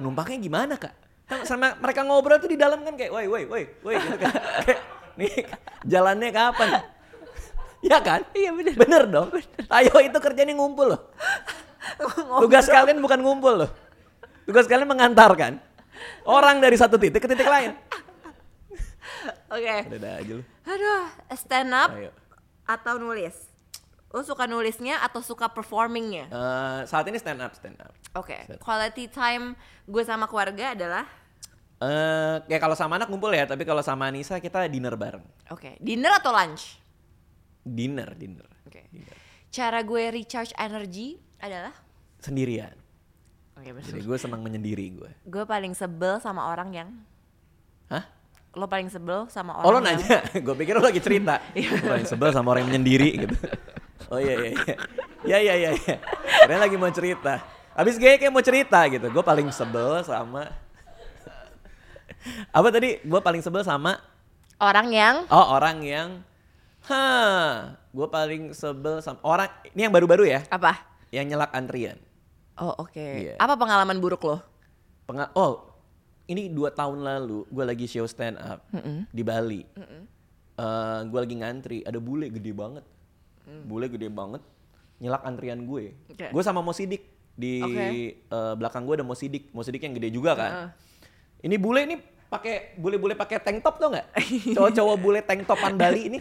Speaker 2: Penumpangnya gimana, Kak? Kan Sama mereka ngobrol tuh di dalam kan kayak woi woi woi woi gitu kan. Kayak, Nih jalannya kapan? ya kan?
Speaker 3: Iya, bener. Oh,
Speaker 2: Bener dong. Tayo itu kerjanya ngumpul loh. Tugas kalian bukan ngumpul loh. Tugas kalian mengantarkan orang dari satu titik ke titik lain.
Speaker 3: Oke.
Speaker 2: Udah aja lu.
Speaker 3: Aduh, stand up
Speaker 2: Ayo.
Speaker 3: atau nulis? Lo suka nulisnya atau suka performingnya?
Speaker 2: Eh, saat ini stand up, stand up.
Speaker 3: Oke,
Speaker 2: Set.
Speaker 3: quality time gue sama keluarga adalah
Speaker 2: Eh, ya kalau sama anak ngumpul ya, tapi kalau sama Anissa kita dinner bareng.
Speaker 3: Oke, dinner atau lunch?
Speaker 2: Dinner, dinner.
Speaker 3: Oke.
Speaker 2: Dinner.
Speaker 3: Cara gue recharge energi adalah
Speaker 2: Sendirian.
Speaker 3: Oke,
Speaker 2: Jadi
Speaker 3: betul.
Speaker 2: gue senang menyendiri gue.
Speaker 3: Gue paling sebel sama orang yang
Speaker 2: Hah?
Speaker 3: lo paling sebel sama orang
Speaker 2: Oh lo
Speaker 3: yang Iya.
Speaker 2: nanya? gue pikir lo lagi cerita. Gue paling sebel sama orang yang menyendiri gitu. Oh iya iya iya. Iya iya iya. iya. Karena lagi mau cerita. Abis gue kayak mau cerita gitu. Gue paling sebel sama... Apa tadi? Gue paling sebel sama
Speaker 3: orang yang
Speaker 2: Oh orang yang, hah, gue paling sebel sama orang ini yang baru-baru ya,
Speaker 3: apa?
Speaker 2: yang nyelak antrian.
Speaker 3: Oh, oke.
Speaker 2: Iya.
Speaker 3: Apa pengalaman buruk lo?
Speaker 2: Penga- oh ini dua tahun lalu gue lagi show stand up di Bali. Eh, gue lagi ngantri, ada bule gede banget, bule gede banget, nyelak antrian gue.
Speaker 3: Mm. Oke.
Speaker 2: Gue sama Mo Sidik di
Speaker 3: Oke.
Speaker 2: eh, belakang gue ada Mo Sidik, Mo Sidik yang gede juga kan. Ini bule ini pakai bule-bule pakai tank top tau nggak? Cowok-cowok bule tank topan Bali ini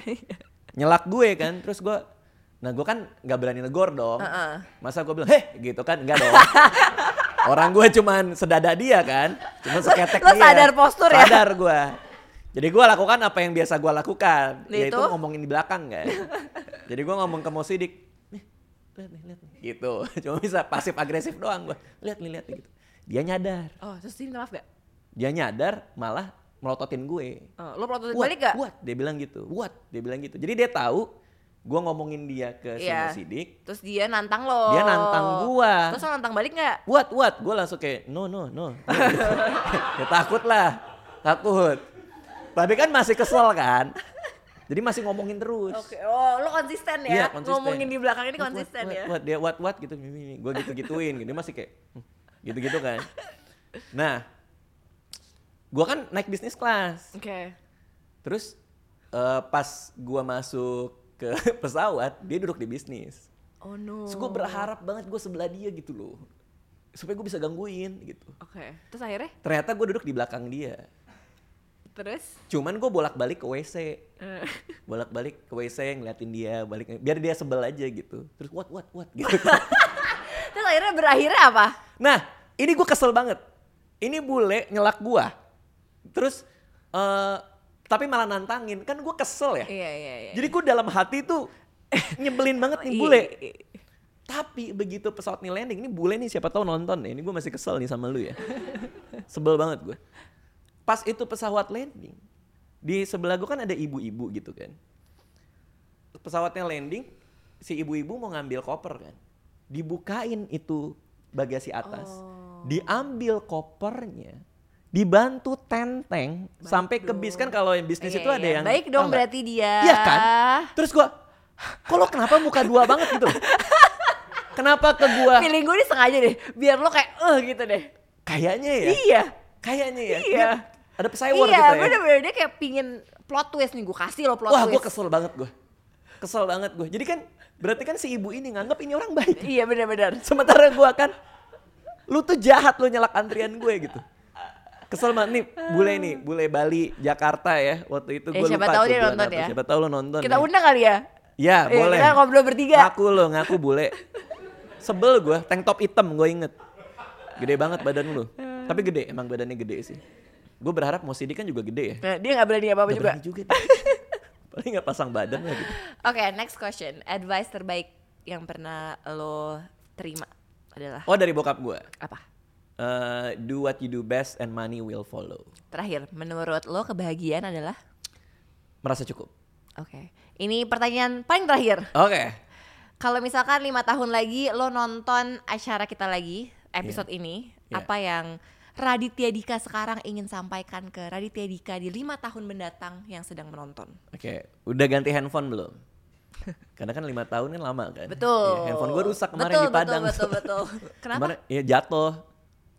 Speaker 2: nyelak gue kan, terus gue Nah gue kan nggak berani negor dong,
Speaker 3: Heeh.
Speaker 2: masa gue bilang heh gitu kan nggak dong. Orang gue cuman sedada dia kan, cuman seketek
Speaker 3: Lo
Speaker 2: dia.
Speaker 3: sadar postur ya?
Speaker 2: Sadar gue. Jadi gue lakukan apa yang biasa gue lakukan,
Speaker 3: Yaitu?
Speaker 2: yaitu ngomongin di belakang kan. Jadi gue ngomong ke Mo Sidik, "Nih, lihat nih, lihat nih. Gitu, cuma bisa pasif agresif doang gue. Lihat nih, lihat nih gitu. Dia nyadar,
Speaker 3: Oh, terus dia minta maaf gak?
Speaker 2: dia nyadar malah melototin gue.
Speaker 3: Oh, lo pelototin
Speaker 2: What?
Speaker 3: balik gak?
Speaker 2: What? Dia bilang gitu. What? Dia bilang gitu. Jadi dia tahu gue ngomongin dia ke si Mo
Speaker 3: Iya.
Speaker 2: Sidik,
Speaker 3: Terus dia nantang lo.
Speaker 2: Dia nantang gua.
Speaker 3: Terus lo nantang balik gak?
Speaker 2: what what gue langsung kayak no no no ya takut lah takut tapi kan masih kesel kan jadi masih ngomongin terus
Speaker 3: Oke, oh lo konsisten ya?
Speaker 2: Iya, konsisten.
Speaker 3: Ngomongin di belakang ini
Speaker 2: What,
Speaker 3: konsisten
Speaker 2: what,
Speaker 3: ya?
Speaker 2: what, what, dia what what gitu gue gitu gituin gitu Dia masih kayak hmm, gitu gitu kan nah gue kan naik bisnis kelas
Speaker 3: Oke.
Speaker 2: terus eh, pas gue masuk ke pesawat dia duduk di bisnis
Speaker 3: Oh no.
Speaker 2: Terus gue berharap banget gue sebelah dia gitu loh supaya gue bisa gangguin gitu
Speaker 3: Oke. Terus akhirnya?
Speaker 2: ternyata gue duduk di belakang dia
Speaker 3: Terus?
Speaker 2: cuman gue bolak-balik ke WC
Speaker 3: Eh,
Speaker 2: bolak-balik ke WC ngeliatin dia balik biar dia sebel aja gitu terus what what what gitu
Speaker 3: terus akhirnya berakhirnya apa?
Speaker 2: nah ini gue kesel banget ini bule nyelak gue terus eh tapi malah nantangin kan gue kesel ya
Speaker 3: Iya, iya, iya.
Speaker 2: jadi gue dalam hati tuh nyebelin banget nih
Speaker 3: Iya,
Speaker 2: bule
Speaker 3: iya, iya.
Speaker 2: Tapi begitu pesawat nih landing, ini bule nih siapa tahu nonton ya. Ini gue masih kesel nih sama lu ya. Sebel banget gue. Pas itu pesawat landing, di sebelah gue kan ada ibu-ibu gitu kan. Pesawatnya landing, si ibu-ibu mau ngambil koper kan. Dibukain itu bagasi atas.
Speaker 3: Oh.
Speaker 2: Diambil kopernya, dibantu tenteng sampai ke bis kan kalau yang bisnis
Speaker 3: Iya,
Speaker 2: itu ada
Speaker 3: iya.
Speaker 2: yang
Speaker 3: Baik dong
Speaker 2: tau nggak?
Speaker 3: berarti dia.
Speaker 2: Iya kan? Terus gua, kok lo kenapa muka dua banget gitu? loh? kenapa ke gua?
Speaker 3: Feeling gue ini sengaja deh, biar lo kayak eh gitu deh.
Speaker 2: Kayaknya ya.
Speaker 3: Iya.
Speaker 2: Kayaknya ya.
Speaker 3: Iya.
Speaker 2: Dia- Ada pesawat
Speaker 3: iya,
Speaker 2: gitu ya.
Speaker 3: bener-bener dia kayak pingin plot twist nih, gue kasih lo plot
Speaker 2: Wah,
Speaker 3: twist.
Speaker 2: gua kesel banget gua. Kesel banget gue. Jadi kan berarti kan si ibu ini nganggap ini orang baik.
Speaker 3: Iya benar-benar.
Speaker 2: Sementara gue kan, lu tuh jahat lu nyelak antrian gue gitu. Kesel banget nih, bule nih, bule Bali, Jakarta ya. Waktu itu
Speaker 3: Eh,
Speaker 2: gue
Speaker 3: siapa
Speaker 2: lupa
Speaker 3: tahu
Speaker 2: tuh
Speaker 3: dia
Speaker 2: bulan
Speaker 3: nonton
Speaker 2: apa.
Speaker 3: ya.
Speaker 2: Siapa tahu lu nonton.
Speaker 3: Kita
Speaker 2: ya.
Speaker 3: undang kali ya.
Speaker 2: Ya,
Speaker 3: Eh,
Speaker 2: boleh.
Speaker 3: Kita ngobrol bertiga.
Speaker 2: Ngaku lo, ngaku bule. Sebel gue, tank top hitam gue inget. Gede banget badan lu. Tapi gede, emang badannya gede sih. Gue berharap mau sidik kan juga gede ya.
Speaker 3: Nah, dia nggak berani apa-apa
Speaker 2: Gak
Speaker 3: juga.
Speaker 2: berani juga. dia. Paling gak pasang badan lah gitu.
Speaker 3: Oke, next question. Advice terbaik yang pernah lo terima adalah
Speaker 2: Oh dari bokap gue.
Speaker 3: apa?
Speaker 2: Eh, do what you do best and money will follow.
Speaker 3: Terakhir, menurut lo kebahagiaan adalah?
Speaker 2: Merasa cukup.
Speaker 3: Oke. Ini pertanyaan paling terakhir.
Speaker 2: Oke.
Speaker 3: Kalau misalkan lima tahun lagi lo nonton acara kita lagi episode ini,
Speaker 2: Iya.
Speaker 3: apa yang Raditya Dika sekarang ingin sampaikan ke Raditya Dika di lima tahun mendatang yang sedang menonton?
Speaker 2: Oke. Udah ganti handphone belum? Karena kan lima tahun kan lama kan.
Speaker 3: Betul.
Speaker 2: Iya, handphone gue rusak kemarin
Speaker 3: Betul,
Speaker 2: di Padang.
Speaker 3: Betul, betul, betul. Kenapa?
Speaker 2: Kemarin, ya jatuh.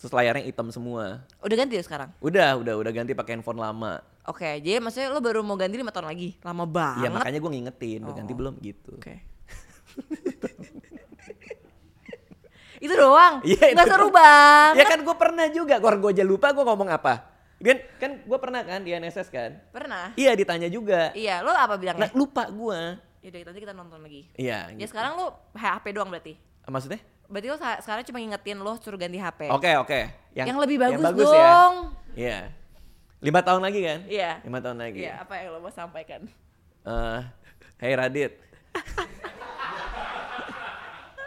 Speaker 2: Terus layarnya hitam semua.
Speaker 3: Udah ganti ya sekarang?
Speaker 2: Udah, udah, udah ganti pakai handphone lama.
Speaker 3: Oke, jadi maksudnya lo baru mau ganti lima tahun lagi? Lama banget.
Speaker 2: Iya makanya gue ngingetin, udah
Speaker 3: Oh.
Speaker 2: ganti belum gitu.
Speaker 3: Oke. itu doang.
Speaker 2: Iya, itu
Speaker 3: Nggak seru
Speaker 2: doang.
Speaker 3: bang.
Speaker 2: Ya kan gue pernah juga, gue gue aja lupa gue ngomong apa. Kan, kan gue pernah kan di NSS kan?
Speaker 3: Pernah.
Speaker 2: Iya ditanya juga.
Speaker 3: Iya, lo apa bilangnya?
Speaker 2: Nah lupa gue.
Speaker 3: Yaudah nanti kita nonton lagi.
Speaker 2: Iya.
Speaker 3: Ya
Speaker 2: gitu.
Speaker 3: sekarang lo HP doang berarti.
Speaker 2: Maksudnya?
Speaker 3: Berarti lo sa- sekarang cuma ngingetin lo suruh ganti HP.
Speaker 2: Oke oke.
Speaker 3: Yang lebih bagus
Speaker 2: ya.
Speaker 3: dong.
Speaker 2: Iya. Lima tahun lagi kan?
Speaker 3: Iya.
Speaker 2: Lima tahun lagi.
Speaker 3: Iya, apa yang lo mau sampaikan?
Speaker 2: Eh, hey Radit.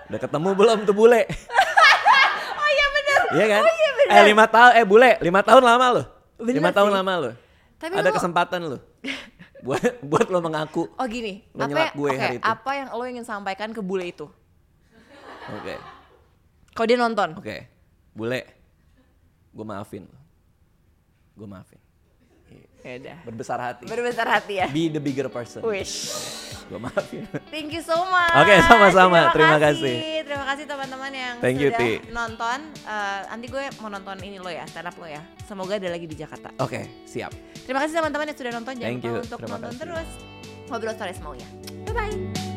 Speaker 2: Udah ketemu belum tuh bule?
Speaker 3: Oh iya bener.
Speaker 2: Iya kan?
Speaker 3: Oh iya bener.
Speaker 2: eh lima tahun, eh bule, lima tahun lama lo.
Speaker 3: Bener
Speaker 2: Lima tahun
Speaker 3: sih.
Speaker 2: lama lo.
Speaker 3: Tapi
Speaker 2: Ada
Speaker 3: lo-
Speaker 2: kesempatan lo. buat buat lo mengaku.
Speaker 3: Oh gini,
Speaker 2: Lo
Speaker 3: apa,
Speaker 2: nyelak gue
Speaker 3: oke,
Speaker 2: hari itu.
Speaker 3: apa yang lo ingin sampaikan ke bule itu?
Speaker 2: Oke,
Speaker 3: Kalau dia nonton.
Speaker 2: oke, bule, gue maafin lo. Gue maafin.
Speaker 3: Ya udah.
Speaker 2: Berbesar hati.
Speaker 3: Berbesar hati ya.
Speaker 2: Be the bigger person.
Speaker 3: Wish.
Speaker 2: Gue maafin.
Speaker 3: Thank you so much.
Speaker 2: Oke, sama-sama. Terima kasih.
Speaker 3: Terima kasih teman-teman yang
Speaker 2: Thank you,
Speaker 3: sudah
Speaker 2: Ti.
Speaker 3: nonton. Eh, nanti gue mau nonton ini lo ya, stand up lo ya. Semoga ada lagi di Jakarta.
Speaker 2: Oke, siap.
Speaker 3: Terima kasih teman-teman yang sudah nonton. Jangan
Speaker 2: Thank
Speaker 3: lupa
Speaker 2: you.
Speaker 3: untuk
Speaker 2: Terima
Speaker 3: nonton
Speaker 2: kasih.
Speaker 3: terus. Ngobrol sore semaunya. ya. Bye-bye.